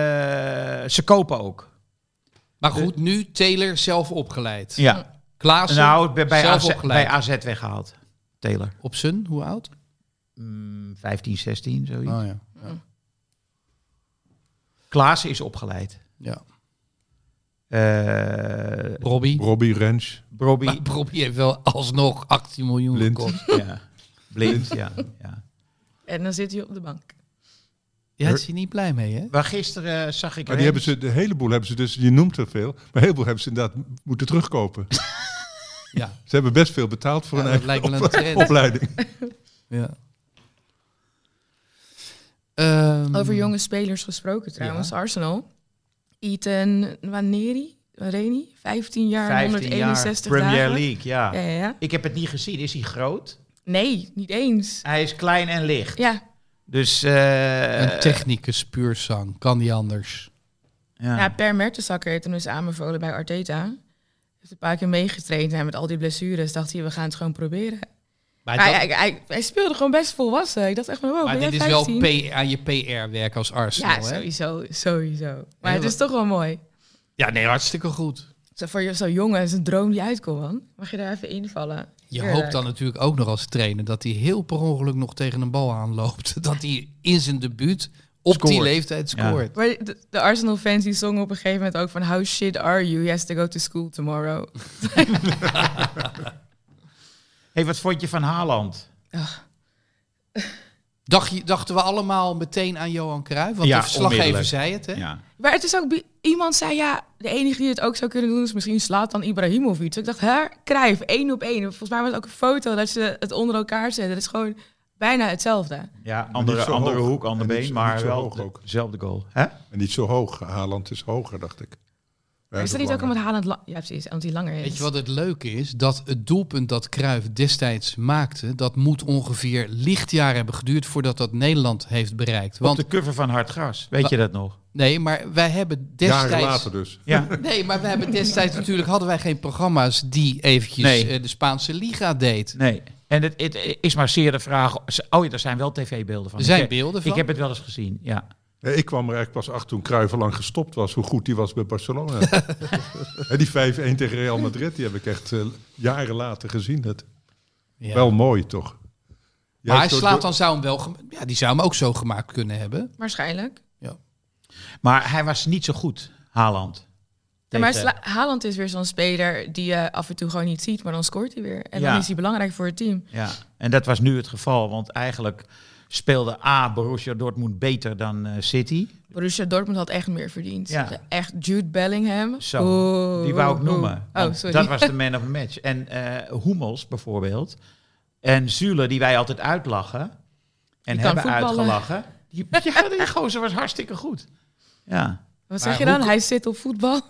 [SPEAKER 3] ze kopen ook.
[SPEAKER 5] Maar goed, nu Taylor zelf opgeleid.
[SPEAKER 3] Ja.
[SPEAKER 5] Klaassen
[SPEAKER 3] Nou, bij, bij,
[SPEAKER 5] Hm. zelf
[SPEAKER 3] AZ,
[SPEAKER 5] opgeleid.
[SPEAKER 3] bij AZ weggehaald. Taylor.
[SPEAKER 5] Op zijn, hoe oud?
[SPEAKER 3] Mm, 15, 16, zoiets.
[SPEAKER 7] Ah.
[SPEAKER 5] Oh, ja.
[SPEAKER 3] Klaassen is opgeleid.
[SPEAKER 5] ja.
[SPEAKER 3] Eh
[SPEAKER 5] Robbie.
[SPEAKER 7] Robbie Rens.
[SPEAKER 3] Robbie.
[SPEAKER 5] Maar Robbie heeft wel alsnog 18 miljoen
[SPEAKER 7] Blind.
[SPEAKER 5] gekost.
[SPEAKER 3] ja. Blind, ja. ja.
[SPEAKER 6] En dan zit hij op de bank.
[SPEAKER 5] Ja, daar is hij niet blij mee, hè?
[SPEAKER 3] Maar gisteren eh, zag ik...
[SPEAKER 7] Maar die hebben
[SPEAKER 3] Rens-
[SPEAKER 7] ze, de heleboel hebben ze dus, je noemt er veel, maar een heleboel hebben ze inderdaad moeten terugkopen.
[SPEAKER 5] Ja.
[SPEAKER 7] Ze hebben best veel betaald voor
[SPEAKER 5] Ja,
[SPEAKER 7] hun
[SPEAKER 5] dat
[SPEAKER 7] eigen
[SPEAKER 5] lijkt wel een
[SPEAKER 7] op-
[SPEAKER 5] trend.
[SPEAKER 7] opleiding.
[SPEAKER 5] ja. Ehm,
[SPEAKER 6] Over jonge spelers gesproken trouwens. Arsenal. Ethan Waneri, Waneri, 15 jaar,
[SPEAKER 3] 15 jaar
[SPEAKER 6] 161
[SPEAKER 3] Premier
[SPEAKER 6] dagen.
[SPEAKER 3] League, ja.
[SPEAKER 6] Ja, ja, ja.
[SPEAKER 3] Ik heb het niet gezien. Is hij groot?
[SPEAKER 6] Nee, niet eens.
[SPEAKER 3] Hij is klein en licht.
[SPEAKER 6] Ja,
[SPEAKER 3] Dus... eh,
[SPEAKER 5] een technicus puurzang, kan niet anders.
[SPEAKER 3] ja.
[SPEAKER 6] ja Per Mertensakker heeft hem dus aanbevolen bij Arteta. Hij Heeft een paar keer meegetraind en met al die blessures dacht hij, we gaan het gewoon proberen.
[SPEAKER 5] Maar,
[SPEAKER 6] Hij,
[SPEAKER 5] dat-
[SPEAKER 6] hij, hij, hij speelde gewoon best volwassen. Ik dacht echt van, wow,
[SPEAKER 5] maar
[SPEAKER 6] ben
[SPEAKER 5] dit
[SPEAKER 6] jij
[SPEAKER 5] is wel
[SPEAKER 6] 15?
[SPEAKER 5] P- aan je PR-werk als Arsenal,
[SPEAKER 6] Ja,
[SPEAKER 5] hè?
[SPEAKER 6] sowieso, sowieso. Maar
[SPEAKER 5] Ja,
[SPEAKER 6] het is
[SPEAKER 5] maar-
[SPEAKER 6] toch wel mooi.
[SPEAKER 5] Ja, nee, hartstikke goed.
[SPEAKER 6] Zo voor je- zo'n jongen is een droom die uitkomt, man. Mag je daar even invallen?
[SPEAKER 5] Je
[SPEAKER 6] Heerlijk.
[SPEAKER 5] hoopt dan natuurlijk ook nog als trainer dat hij heel per ongeluk nog tegen een bal aanloopt. Dat hij in zijn debuut op die
[SPEAKER 3] Scoort.
[SPEAKER 5] leeftijd
[SPEAKER 3] Ja.
[SPEAKER 5] scoort.
[SPEAKER 6] Maar de, de Arsenal-fans die zongen op een gegeven moment ook van... How shit are you? He has to go to school tomorrow.
[SPEAKER 3] hey, wat vond je van Haaland?
[SPEAKER 5] Dacht je, dachten we allemaal meteen aan Johan Cruijff? Want
[SPEAKER 3] Ja,
[SPEAKER 5] de verslaggever
[SPEAKER 3] onmiddellijk.
[SPEAKER 5] zei het, hè?
[SPEAKER 3] Ja.
[SPEAKER 6] Maar het is ook... bi- Iemand zei, ja, de enige die het ook zou kunnen doen... is misschien slaat dan Ibrahimovic. Dus ik dacht, hè, Cruijff, één op één. Volgens mij was het ook een foto dat ze het onder elkaar zetten. Dat is gewoon bijna hetzelfde.
[SPEAKER 3] Ja, andere,
[SPEAKER 7] zo
[SPEAKER 3] andere
[SPEAKER 7] hoog.
[SPEAKER 3] hoek, ander
[SPEAKER 7] En niet
[SPEAKER 3] been,
[SPEAKER 7] zo-
[SPEAKER 3] maar
[SPEAKER 7] niet zo
[SPEAKER 3] wel
[SPEAKER 7] hoog
[SPEAKER 3] de-
[SPEAKER 7] ook.
[SPEAKER 3] dezelfde goal. Hè?
[SPEAKER 7] En niet zo hoog. Haaland is hoger, dacht ik.
[SPEAKER 6] Maar is dat niet ook omdat Haaland... la- Ja, precies, omdat hij langer is.
[SPEAKER 5] Weet je wat het leuke is? Dat het doelpunt dat Cruijff destijds maakte, dat moet ongeveer lichtjaren hebben geduurd voordat dat Nederland heeft bereikt.
[SPEAKER 3] Want,
[SPEAKER 5] Want
[SPEAKER 3] Op de cover van Hard Gras, weet je dat nog?
[SPEAKER 5] nee, maar wij hebben
[SPEAKER 7] Jaren
[SPEAKER 5] destijds.
[SPEAKER 7] later dus.
[SPEAKER 3] Ja,
[SPEAKER 5] Nee, maar wij hebben destijds natuurlijk hadden wij geen programma's die eventjes
[SPEAKER 3] Nee.
[SPEAKER 5] eh, de Spaanse Liga deed.
[SPEAKER 3] nee. En het, het is maar zeer de vraag... Oh ja, er zijn wel tv-beelden van.
[SPEAKER 5] Er zijn
[SPEAKER 3] Ik-
[SPEAKER 5] beelden van.
[SPEAKER 3] Ik heb het wel eens gezien, ja.
[SPEAKER 7] Nee, Eh, ik kwam er eigenlijk pas achter toen Cruijff al lang gestopt was, hoe goed hij was bij Barcelona. en die 5-1 tegen Real Madrid, die heb ik echt eh, jaren later gezien. Dat.
[SPEAKER 5] Ja.
[SPEAKER 7] Wel mooi, toch?
[SPEAKER 5] maar hij
[SPEAKER 7] Juist
[SPEAKER 5] slaat
[SPEAKER 7] door-
[SPEAKER 5] dan zou hem wel, gem- ja, die zou hem ook zo gemaakt kunnen hebben.
[SPEAKER 6] Waarschijnlijk.
[SPEAKER 3] Maar hij was niet zo goed, Haaland.
[SPEAKER 6] Ja, maar
[SPEAKER 3] Tegen-
[SPEAKER 6] Sla- Haaland is weer zo'n speler die je af en toe gewoon niet ziet, maar dan scoort hij weer. En
[SPEAKER 3] Ja.
[SPEAKER 6] dan is hij belangrijk voor het team.
[SPEAKER 3] Ja, en dat was nu het geval, want eigenlijk speelde A, Borussia Dortmund beter dan eh, City.
[SPEAKER 6] Borussia Dortmund had echt meer verdiend.
[SPEAKER 3] Ja.
[SPEAKER 6] Echt Jude Bellingham.
[SPEAKER 3] Zo,
[SPEAKER 6] Oeh,
[SPEAKER 3] die wou ik
[SPEAKER 6] oeh,
[SPEAKER 3] noemen.
[SPEAKER 6] oeh. Oh,
[SPEAKER 3] want
[SPEAKER 6] sorry.
[SPEAKER 3] Dat was de man of the match. En eh Hummels bijvoorbeeld. En Zule, die wij altijd uitlachen. En
[SPEAKER 6] kan
[SPEAKER 3] hebben
[SPEAKER 6] voetballen.
[SPEAKER 3] uitgelachen. Die, ja, die gozer was hartstikke goed. Ja,
[SPEAKER 6] Wat
[SPEAKER 5] Maar
[SPEAKER 6] zeg je
[SPEAKER 5] hoe
[SPEAKER 6] dan?
[SPEAKER 5] ko-
[SPEAKER 6] Hij zit op voetbal.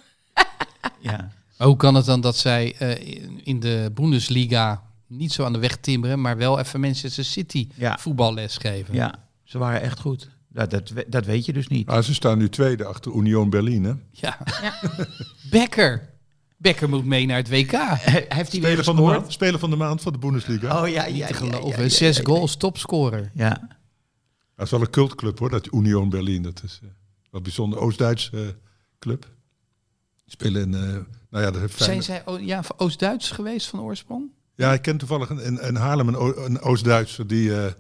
[SPEAKER 3] ja.
[SPEAKER 5] Maar hoe kan het dan dat zij eh, in- in de Bundesliga niet zo aan de weg timmeren, maar wel even Manchester City
[SPEAKER 3] Ja.
[SPEAKER 5] voetballes geven?
[SPEAKER 3] ja, ze waren echt goed. Dat, dat, we- dat weet je dus niet.
[SPEAKER 7] Ah, ze staan nu tweede achter Union Berlin. Hè?
[SPEAKER 5] Ja.
[SPEAKER 6] Ja.
[SPEAKER 5] Becker. Becker moet mee naar het WK.
[SPEAKER 3] Heeft hij weer
[SPEAKER 7] Speler, van de
[SPEAKER 3] gescoord?
[SPEAKER 7] maand, speler van de maand van de Bundesliga.
[SPEAKER 3] Oh ja, ja,
[SPEAKER 5] Te
[SPEAKER 3] ja, ja,
[SPEAKER 5] geloven.
[SPEAKER 3] ja,
[SPEAKER 5] Zes
[SPEAKER 3] ja, ja.
[SPEAKER 5] goals, topscorer.
[SPEAKER 3] Ja.
[SPEAKER 7] Dat is wel een cultclub hoor, dat Union Berlin. Dat is eh wat bijzonder. Oost-Duitse eh, club. Die spelen in. eh, nou ja, dat heeft
[SPEAKER 5] Zijn
[SPEAKER 7] Feyenoord-
[SPEAKER 5] zij o- ja, van Oost-Duits geweest van oorsprong?
[SPEAKER 7] Ja, ik ken toevallig een, een, een Haarlem, een, O- een Oost-Duitser die, eh,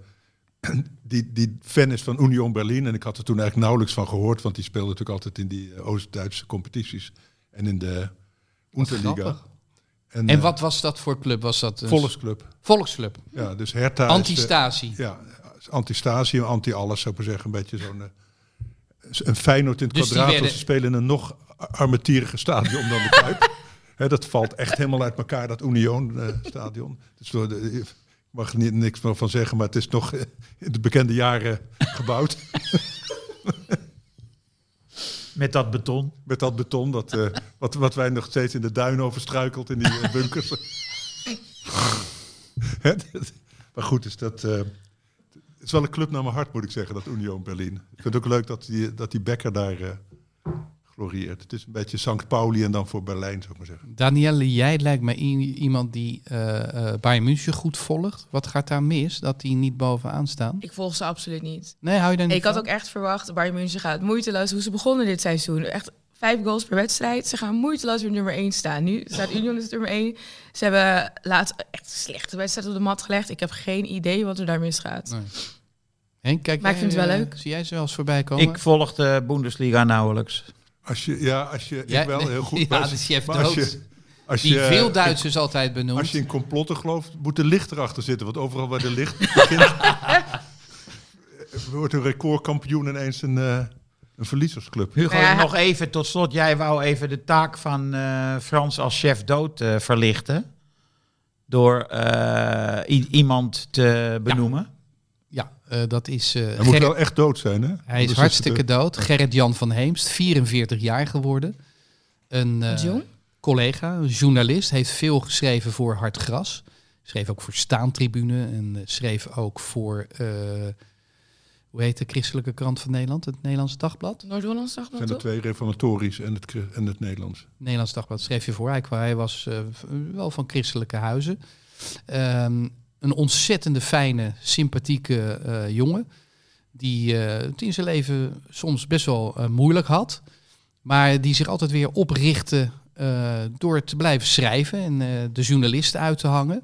[SPEAKER 7] die, die fan is van Union Berlin. En ik had er toen eigenlijk nauwelijks van gehoord, want die speelde natuurlijk altijd in die eh, Oost-Duitse competities en in de Unterliga.
[SPEAKER 5] grappig.
[SPEAKER 7] En,
[SPEAKER 5] En
[SPEAKER 7] eh,
[SPEAKER 5] wat was dat voor club? Was dat een
[SPEAKER 7] Volksclub.
[SPEAKER 5] Volksclub.
[SPEAKER 7] Ja, dus Hertha. is, eh,
[SPEAKER 5] Antistatie.
[SPEAKER 7] Ja, anti-stasie, anti-alles zou ik maar zeggen. Een beetje zo'n eh, een Feyenoord in het
[SPEAKER 5] Dus die
[SPEAKER 7] kwadraat. want
[SPEAKER 5] werden-
[SPEAKER 7] Ze spelen in een nog armetierige stadion dan de Kuip. Hè, dat valt echt helemaal uit elkaar, dat Union-stadion. dus door de, ik mag er niet, niks meer van zeggen, maar het is nog eh, in de bekende jaren gebouwd.
[SPEAKER 3] Met dat beton.
[SPEAKER 7] Met dat beton dat, eh, wat, wat wij nog steeds in de duin overstruikelt in die eh, bunkers. dus Hè, dat- maar goed, is dat. eh, Het is wel een club naar mijn hart, moet ik zeggen, dat Union Berlin. Ik vind het ook leuk dat die, dat die Becker daar eh glorieert. Het is een beetje Sankt Pauli en dan voor Berlijn, zou ik maar zeggen.
[SPEAKER 5] Danielle, jij lijkt mij i- iemand die eh eh Bayern München goed volgt. Wat gaat daar mis dat die niet bovenaan staan?
[SPEAKER 6] Ik volg ze absoluut niet.
[SPEAKER 5] Nee, hou je daar niet
[SPEAKER 6] Ik had
[SPEAKER 5] van?
[SPEAKER 6] ook echt verwacht, Bayern München gaat moeiteloos hoe ze begonnen dit seizoen. Echt vijf goals per wedstrijd. Ze gaan moeiteloos weer nummer één staan. Nu staat Union dus nummer één. Ze hebben laatst echt een slechte wedstrijd op de mat gelegd. Ik heb geen idee wat er daar misgaat.
[SPEAKER 5] Nee. Henk, kijk
[SPEAKER 6] Maar ik
[SPEAKER 5] jij,
[SPEAKER 6] vind het wel
[SPEAKER 5] eh,
[SPEAKER 6] leuk.
[SPEAKER 5] Zie jij ze wel eens voorbij komen?
[SPEAKER 3] Ik volg de Bundesliga nauwelijks.
[SPEAKER 7] Als je, ja, als je,
[SPEAKER 5] Jij-
[SPEAKER 7] ik wel, heel goed.
[SPEAKER 5] Ja,
[SPEAKER 7] maar als-
[SPEAKER 5] de chef
[SPEAKER 7] maar als
[SPEAKER 5] Doods.
[SPEAKER 7] je- als
[SPEAKER 5] die
[SPEAKER 7] je-
[SPEAKER 5] veel Duitsers altijd benoemt.
[SPEAKER 7] Als je in complotten gelooft, moet de licht erachter zitten. Want overal waar de licht begint, eh, wordt een recordkampioen ineens een, eh, een verliezersclub.
[SPEAKER 3] Hugo,
[SPEAKER 6] Nou ja,
[SPEAKER 3] nog even tot slot. Jij wou even de taak van eh, Frans als chef dood eh, verlichten. Door eh, i- iemand te benoemen.
[SPEAKER 5] Ja, eh, dat is... eh,
[SPEAKER 7] Hij moet
[SPEAKER 5] Gerrit-
[SPEAKER 7] wel echt dood zijn, hè?
[SPEAKER 5] Hij is hartstikke dood. Gerrit-Jan van Heemst, 44 jaar geworden. Een eh,
[SPEAKER 6] Jong?
[SPEAKER 5] collega, een journalist, heeft veel geschreven voor Hard Gras. Schreef ook voor Staantribune en eh, schreef ook voor, eh, hoe heet de christelijke krant van Nederland? Het Nederlands Dagblad?
[SPEAKER 6] Noord-Hollands zag
[SPEAKER 7] zijn de
[SPEAKER 6] toch?
[SPEAKER 7] twee reformatorisch en het, Chri- en het Nederlands.
[SPEAKER 5] Nederlands Dagblad schreef je voor. Hij, kwa- hij was eh, v- wel van christelijke huizen. Ehm, een ontzettende fijne, sympathieke eh, jongen. Die eh, het in zijn leven soms best wel eh, moeilijk had. Maar die zich altijd weer oprichtte eh, door te blijven schrijven en eh, de journalisten uit te hangen.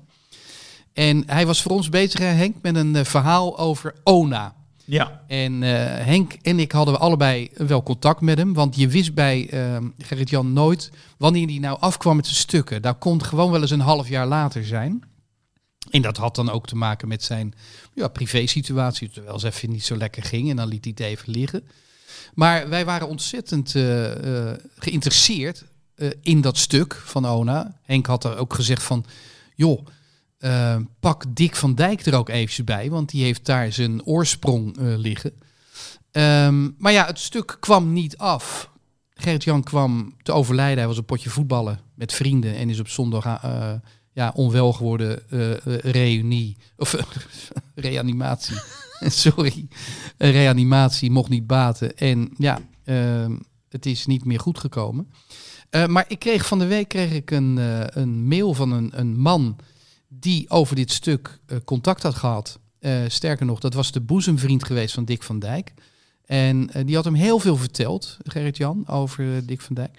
[SPEAKER 5] En hij was voor ons bezig, hè, Henk, met een eh, verhaal over ONA.
[SPEAKER 3] Ja.
[SPEAKER 5] En eh, Henk en ik hadden allebei wel contact met hem. Want je wist bij ehm Gerrit-Jan nooit wanneer hij nou afkwam met zijn stukken. Dat kon gewoon wel eens een half jaar later zijn. En dat had dan ook te maken met zijn ja, privé-situatie. Terwijl ze even niet zo lekker ging en dan liet hij het even liggen. Maar wij waren ontzettend eh, eh, geïnteresseerd eh, in dat stuk van Ona. Henk had er ook gezegd van, joh, eh, pak Dick van Dijk er ook eventjes bij, want die heeft daar zijn oorsprong eh, liggen. Ehm, maar ja, het stuk kwam niet af. Gerrit-Jan kwam te overlijden. Hij was een potje voetballen met vrienden en is op zondag eh, ja, onwel geworden eh, eh, reunie. Of eh, reanimatie. Sorry. Eh, reanimatie mocht niet baten. En ja, ehm, het is niet meer goed gekomen. Eh, maar ik kreeg van de week kreeg ik een, eh, een mail van een, een man die over dit stuk eh, contact had gehad. Eh, sterker nog, dat was de boezemvriend geweest van Dick van Dijk. En eh, die had hem heel veel verteld, Gerrit-Jan, over eh, Dick van Dijk.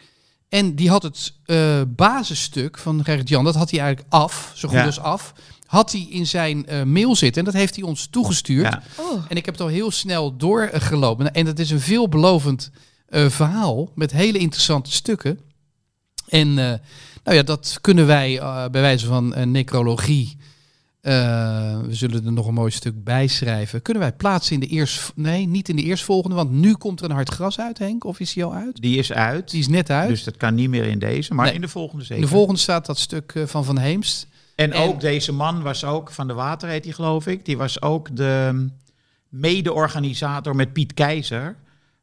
[SPEAKER 5] En die had het eh, basisstuk van Gerrit-Jan, dat had hij eigenlijk af, zo goed
[SPEAKER 3] Ja.
[SPEAKER 5] als af, had hij in zijn eh, mail zitten. En dat heeft hij ons toegestuurd.
[SPEAKER 3] Ja.
[SPEAKER 6] Oh,
[SPEAKER 5] En ik heb het al heel snel doorgelopen. En dat is een veelbelovend eh, verhaal met hele interessante stukken. En eh, nou ja, dat kunnen wij eh, bij wijze van eh, necrologie. eh, we zullen er nog een mooi stuk bij schrijven. Kunnen wij plaatsen in de eerst. Nee, niet in de eerstvolgende. Want nu komt er een hard gras uit, Henk. Of is die al uit?
[SPEAKER 3] Die is uit.
[SPEAKER 5] Die is net uit.
[SPEAKER 3] Dus dat kan niet meer in deze, maar
[SPEAKER 5] Nee.
[SPEAKER 3] in de volgende zeker.
[SPEAKER 5] in de volgende staat dat stuk eh, van Van Heemst.
[SPEAKER 3] en,
[SPEAKER 5] en-
[SPEAKER 3] ook deze man was ook, Van de Water heet hij geloof ik, die was ook de mede-organisator met Piet Keizer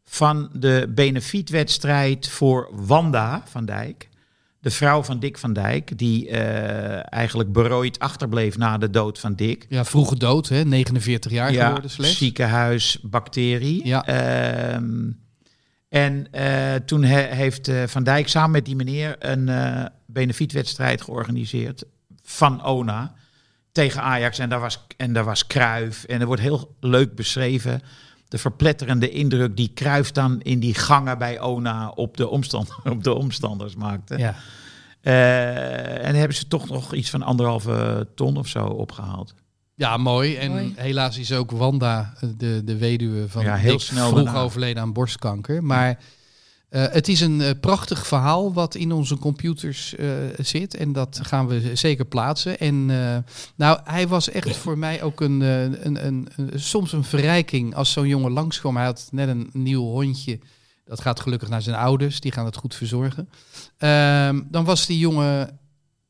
[SPEAKER 3] van de benefietwedstrijd voor Wanda van Dijk. De vrouw van Dick van Dijk, die eh, eigenlijk berooid achterbleef na de dood van Dick.
[SPEAKER 5] Ja, vroege dood, hè? 49 jaar
[SPEAKER 3] Ja,
[SPEAKER 5] geworden slechts.
[SPEAKER 3] ziekenhuisbacterie.
[SPEAKER 5] Ja.
[SPEAKER 3] Ehm, en eh, toen he- heeft eh, Van Dijk samen met die meneer een eh benefietwedstrijd georganiseerd van ONA tegen Ajax. En daar was, en daar was Kruif. En er wordt heel leuk beschreven de verpletterende indruk die Kruif dan in die gangen bij ONA op de, omstand, op de omstanders maakte.
[SPEAKER 5] Ja.
[SPEAKER 3] Eh, en hebben ze toch nog iets van anderhalve ton of zo opgehaald.
[SPEAKER 5] Ja, mooi. En
[SPEAKER 6] Mooi.
[SPEAKER 5] helaas is ook Wanda, eh, de, de weduwe van
[SPEAKER 3] Ja, heel
[SPEAKER 5] Dick,
[SPEAKER 3] snel
[SPEAKER 5] vroeg
[SPEAKER 3] daarna.
[SPEAKER 5] overleden aan borstkanker. Maar eh, het is een eh, prachtig verhaal wat in onze computers eh, zit. En dat gaan we zeker plaatsen. En eh, nou, hij was echt voor mij ook een, eh, een, een, een- soms een verrijking als zo'n jongen langskwam. Hij had net een nieuw hondje. Dat gaat gelukkig naar zijn ouders. Die gaan het goed verzorgen. Ehm, dan was die jongen,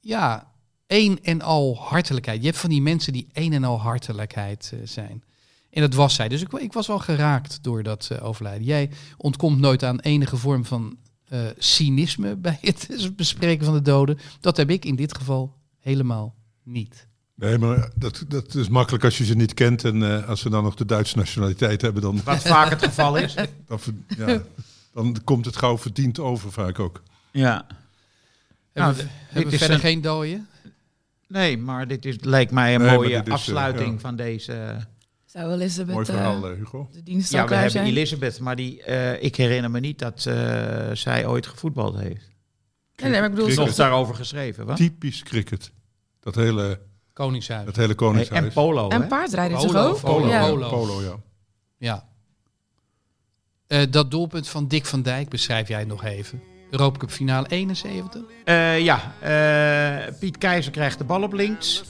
[SPEAKER 5] ja, een en al hartelijkheid. Je hebt van die mensen die een en al hartelijkheid eh, zijn. En dat was zij. Dus ik, wa- ik was wel geraakt door dat eh, overlijden. Jij ontkomt nooit aan enige vorm van eh, cynisme bij het bespreken van de doden. Dat heb ik in dit geval helemaal niet.
[SPEAKER 7] Nee, maar dat, dat is makkelijk als je ze niet kent. En eh, als ze dan nog de Duitse nationaliteit hebben, dan,
[SPEAKER 3] Wat vaak het geval is.
[SPEAKER 7] dan, ver- ja, dan komt het gauw verdiend over vaak ook.
[SPEAKER 3] Ja.
[SPEAKER 5] Hebben
[SPEAKER 3] Nou, dit
[SPEAKER 5] we, hebben we
[SPEAKER 3] is
[SPEAKER 5] verder
[SPEAKER 3] een-
[SPEAKER 5] geen dooien?
[SPEAKER 3] Nee, maar dit is, lijkt mij een
[SPEAKER 7] Nee, maar
[SPEAKER 3] mooie
[SPEAKER 7] dit is, eh,
[SPEAKER 3] afsluiting
[SPEAKER 7] ja.
[SPEAKER 3] van deze.
[SPEAKER 6] Zou Elisabeth
[SPEAKER 7] Mooi
[SPEAKER 6] eh,
[SPEAKER 7] verhaal, eh, Hugo.
[SPEAKER 6] de dienst
[SPEAKER 3] Ja,
[SPEAKER 6] zou
[SPEAKER 3] we
[SPEAKER 6] klaar
[SPEAKER 3] hebben
[SPEAKER 6] zijn?
[SPEAKER 3] Elisabeth, maar die, eh, ik herinner me niet dat eh, zij ooit gevoetbald heeft.
[SPEAKER 6] nee, nee, maar ik bedoel,
[SPEAKER 7] Cricket.
[SPEAKER 3] Nog daarover geschreven, wat?
[SPEAKER 7] Typisch cricket. Dat hele,
[SPEAKER 5] Koningshuis.
[SPEAKER 7] dat hele
[SPEAKER 3] Nee,
[SPEAKER 7] koningshuis.
[SPEAKER 3] en polo, hè?
[SPEAKER 6] en paardrijden toch
[SPEAKER 5] Polo,
[SPEAKER 6] ook?
[SPEAKER 5] polo,
[SPEAKER 6] ja.
[SPEAKER 7] polo. Polo, ja.
[SPEAKER 5] Ja. Eh, dat doelpunt van Dick van Dijk beschrijf jij nog even. Europa Cup finale 71.
[SPEAKER 3] Eh, ja, eh, Piet Keizer krijgt de bal op links.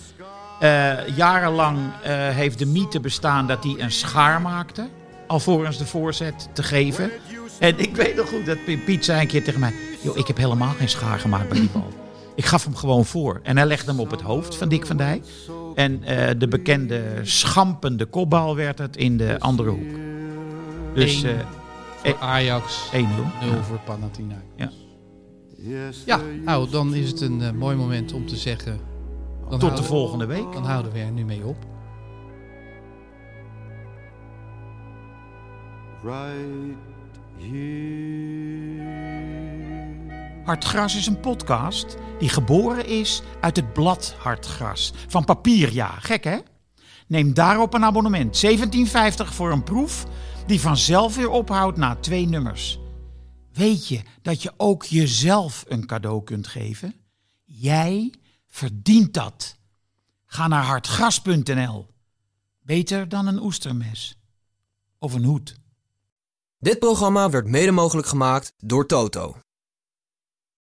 [SPEAKER 3] Eh, jarenlang eh, heeft de mythe bestaan dat hij een schaar maakte. Alvorens de voorzet te geven. En ik weet nog goed dat Piet- Piet zei een keer tegen mij... Joh, ik heb helemaal geen schaar gemaakt bij die bal. Ik gaf hem gewoon voor. En hij legde hem op het hoofd van Dick van Dijk. En eh, de bekende schampende kopbal werd het in de andere hoek. Dus eh
[SPEAKER 5] Eén voor
[SPEAKER 3] eh,
[SPEAKER 5] Ajax,
[SPEAKER 3] 1-0.
[SPEAKER 5] 0 voor Panathinaikos.
[SPEAKER 4] Yes,
[SPEAKER 5] Ja,
[SPEAKER 4] there
[SPEAKER 5] nou dan is het een eh, mooi moment om te zeggen... Dan
[SPEAKER 3] Tot de
[SPEAKER 5] houden-
[SPEAKER 3] volgende week.
[SPEAKER 5] Dan houden we er nu mee op.
[SPEAKER 4] right here.
[SPEAKER 3] Hartgras is een podcast die geboren is uit het blad Hartgras van papier, ja. Gek hè? Neem daarop een abonnement. 17,50 voor een proef die vanzelf weer ophoudt na twee nummers. Weet je dat je ook jezelf een cadeau kunt geven? Jij verdient dat. Ga naar hartgras.nl. Beter dan een oestermes. Of een hoed.
[SPEAKER 2] Dit programma werd mede mogelijk gemaakt door Toto.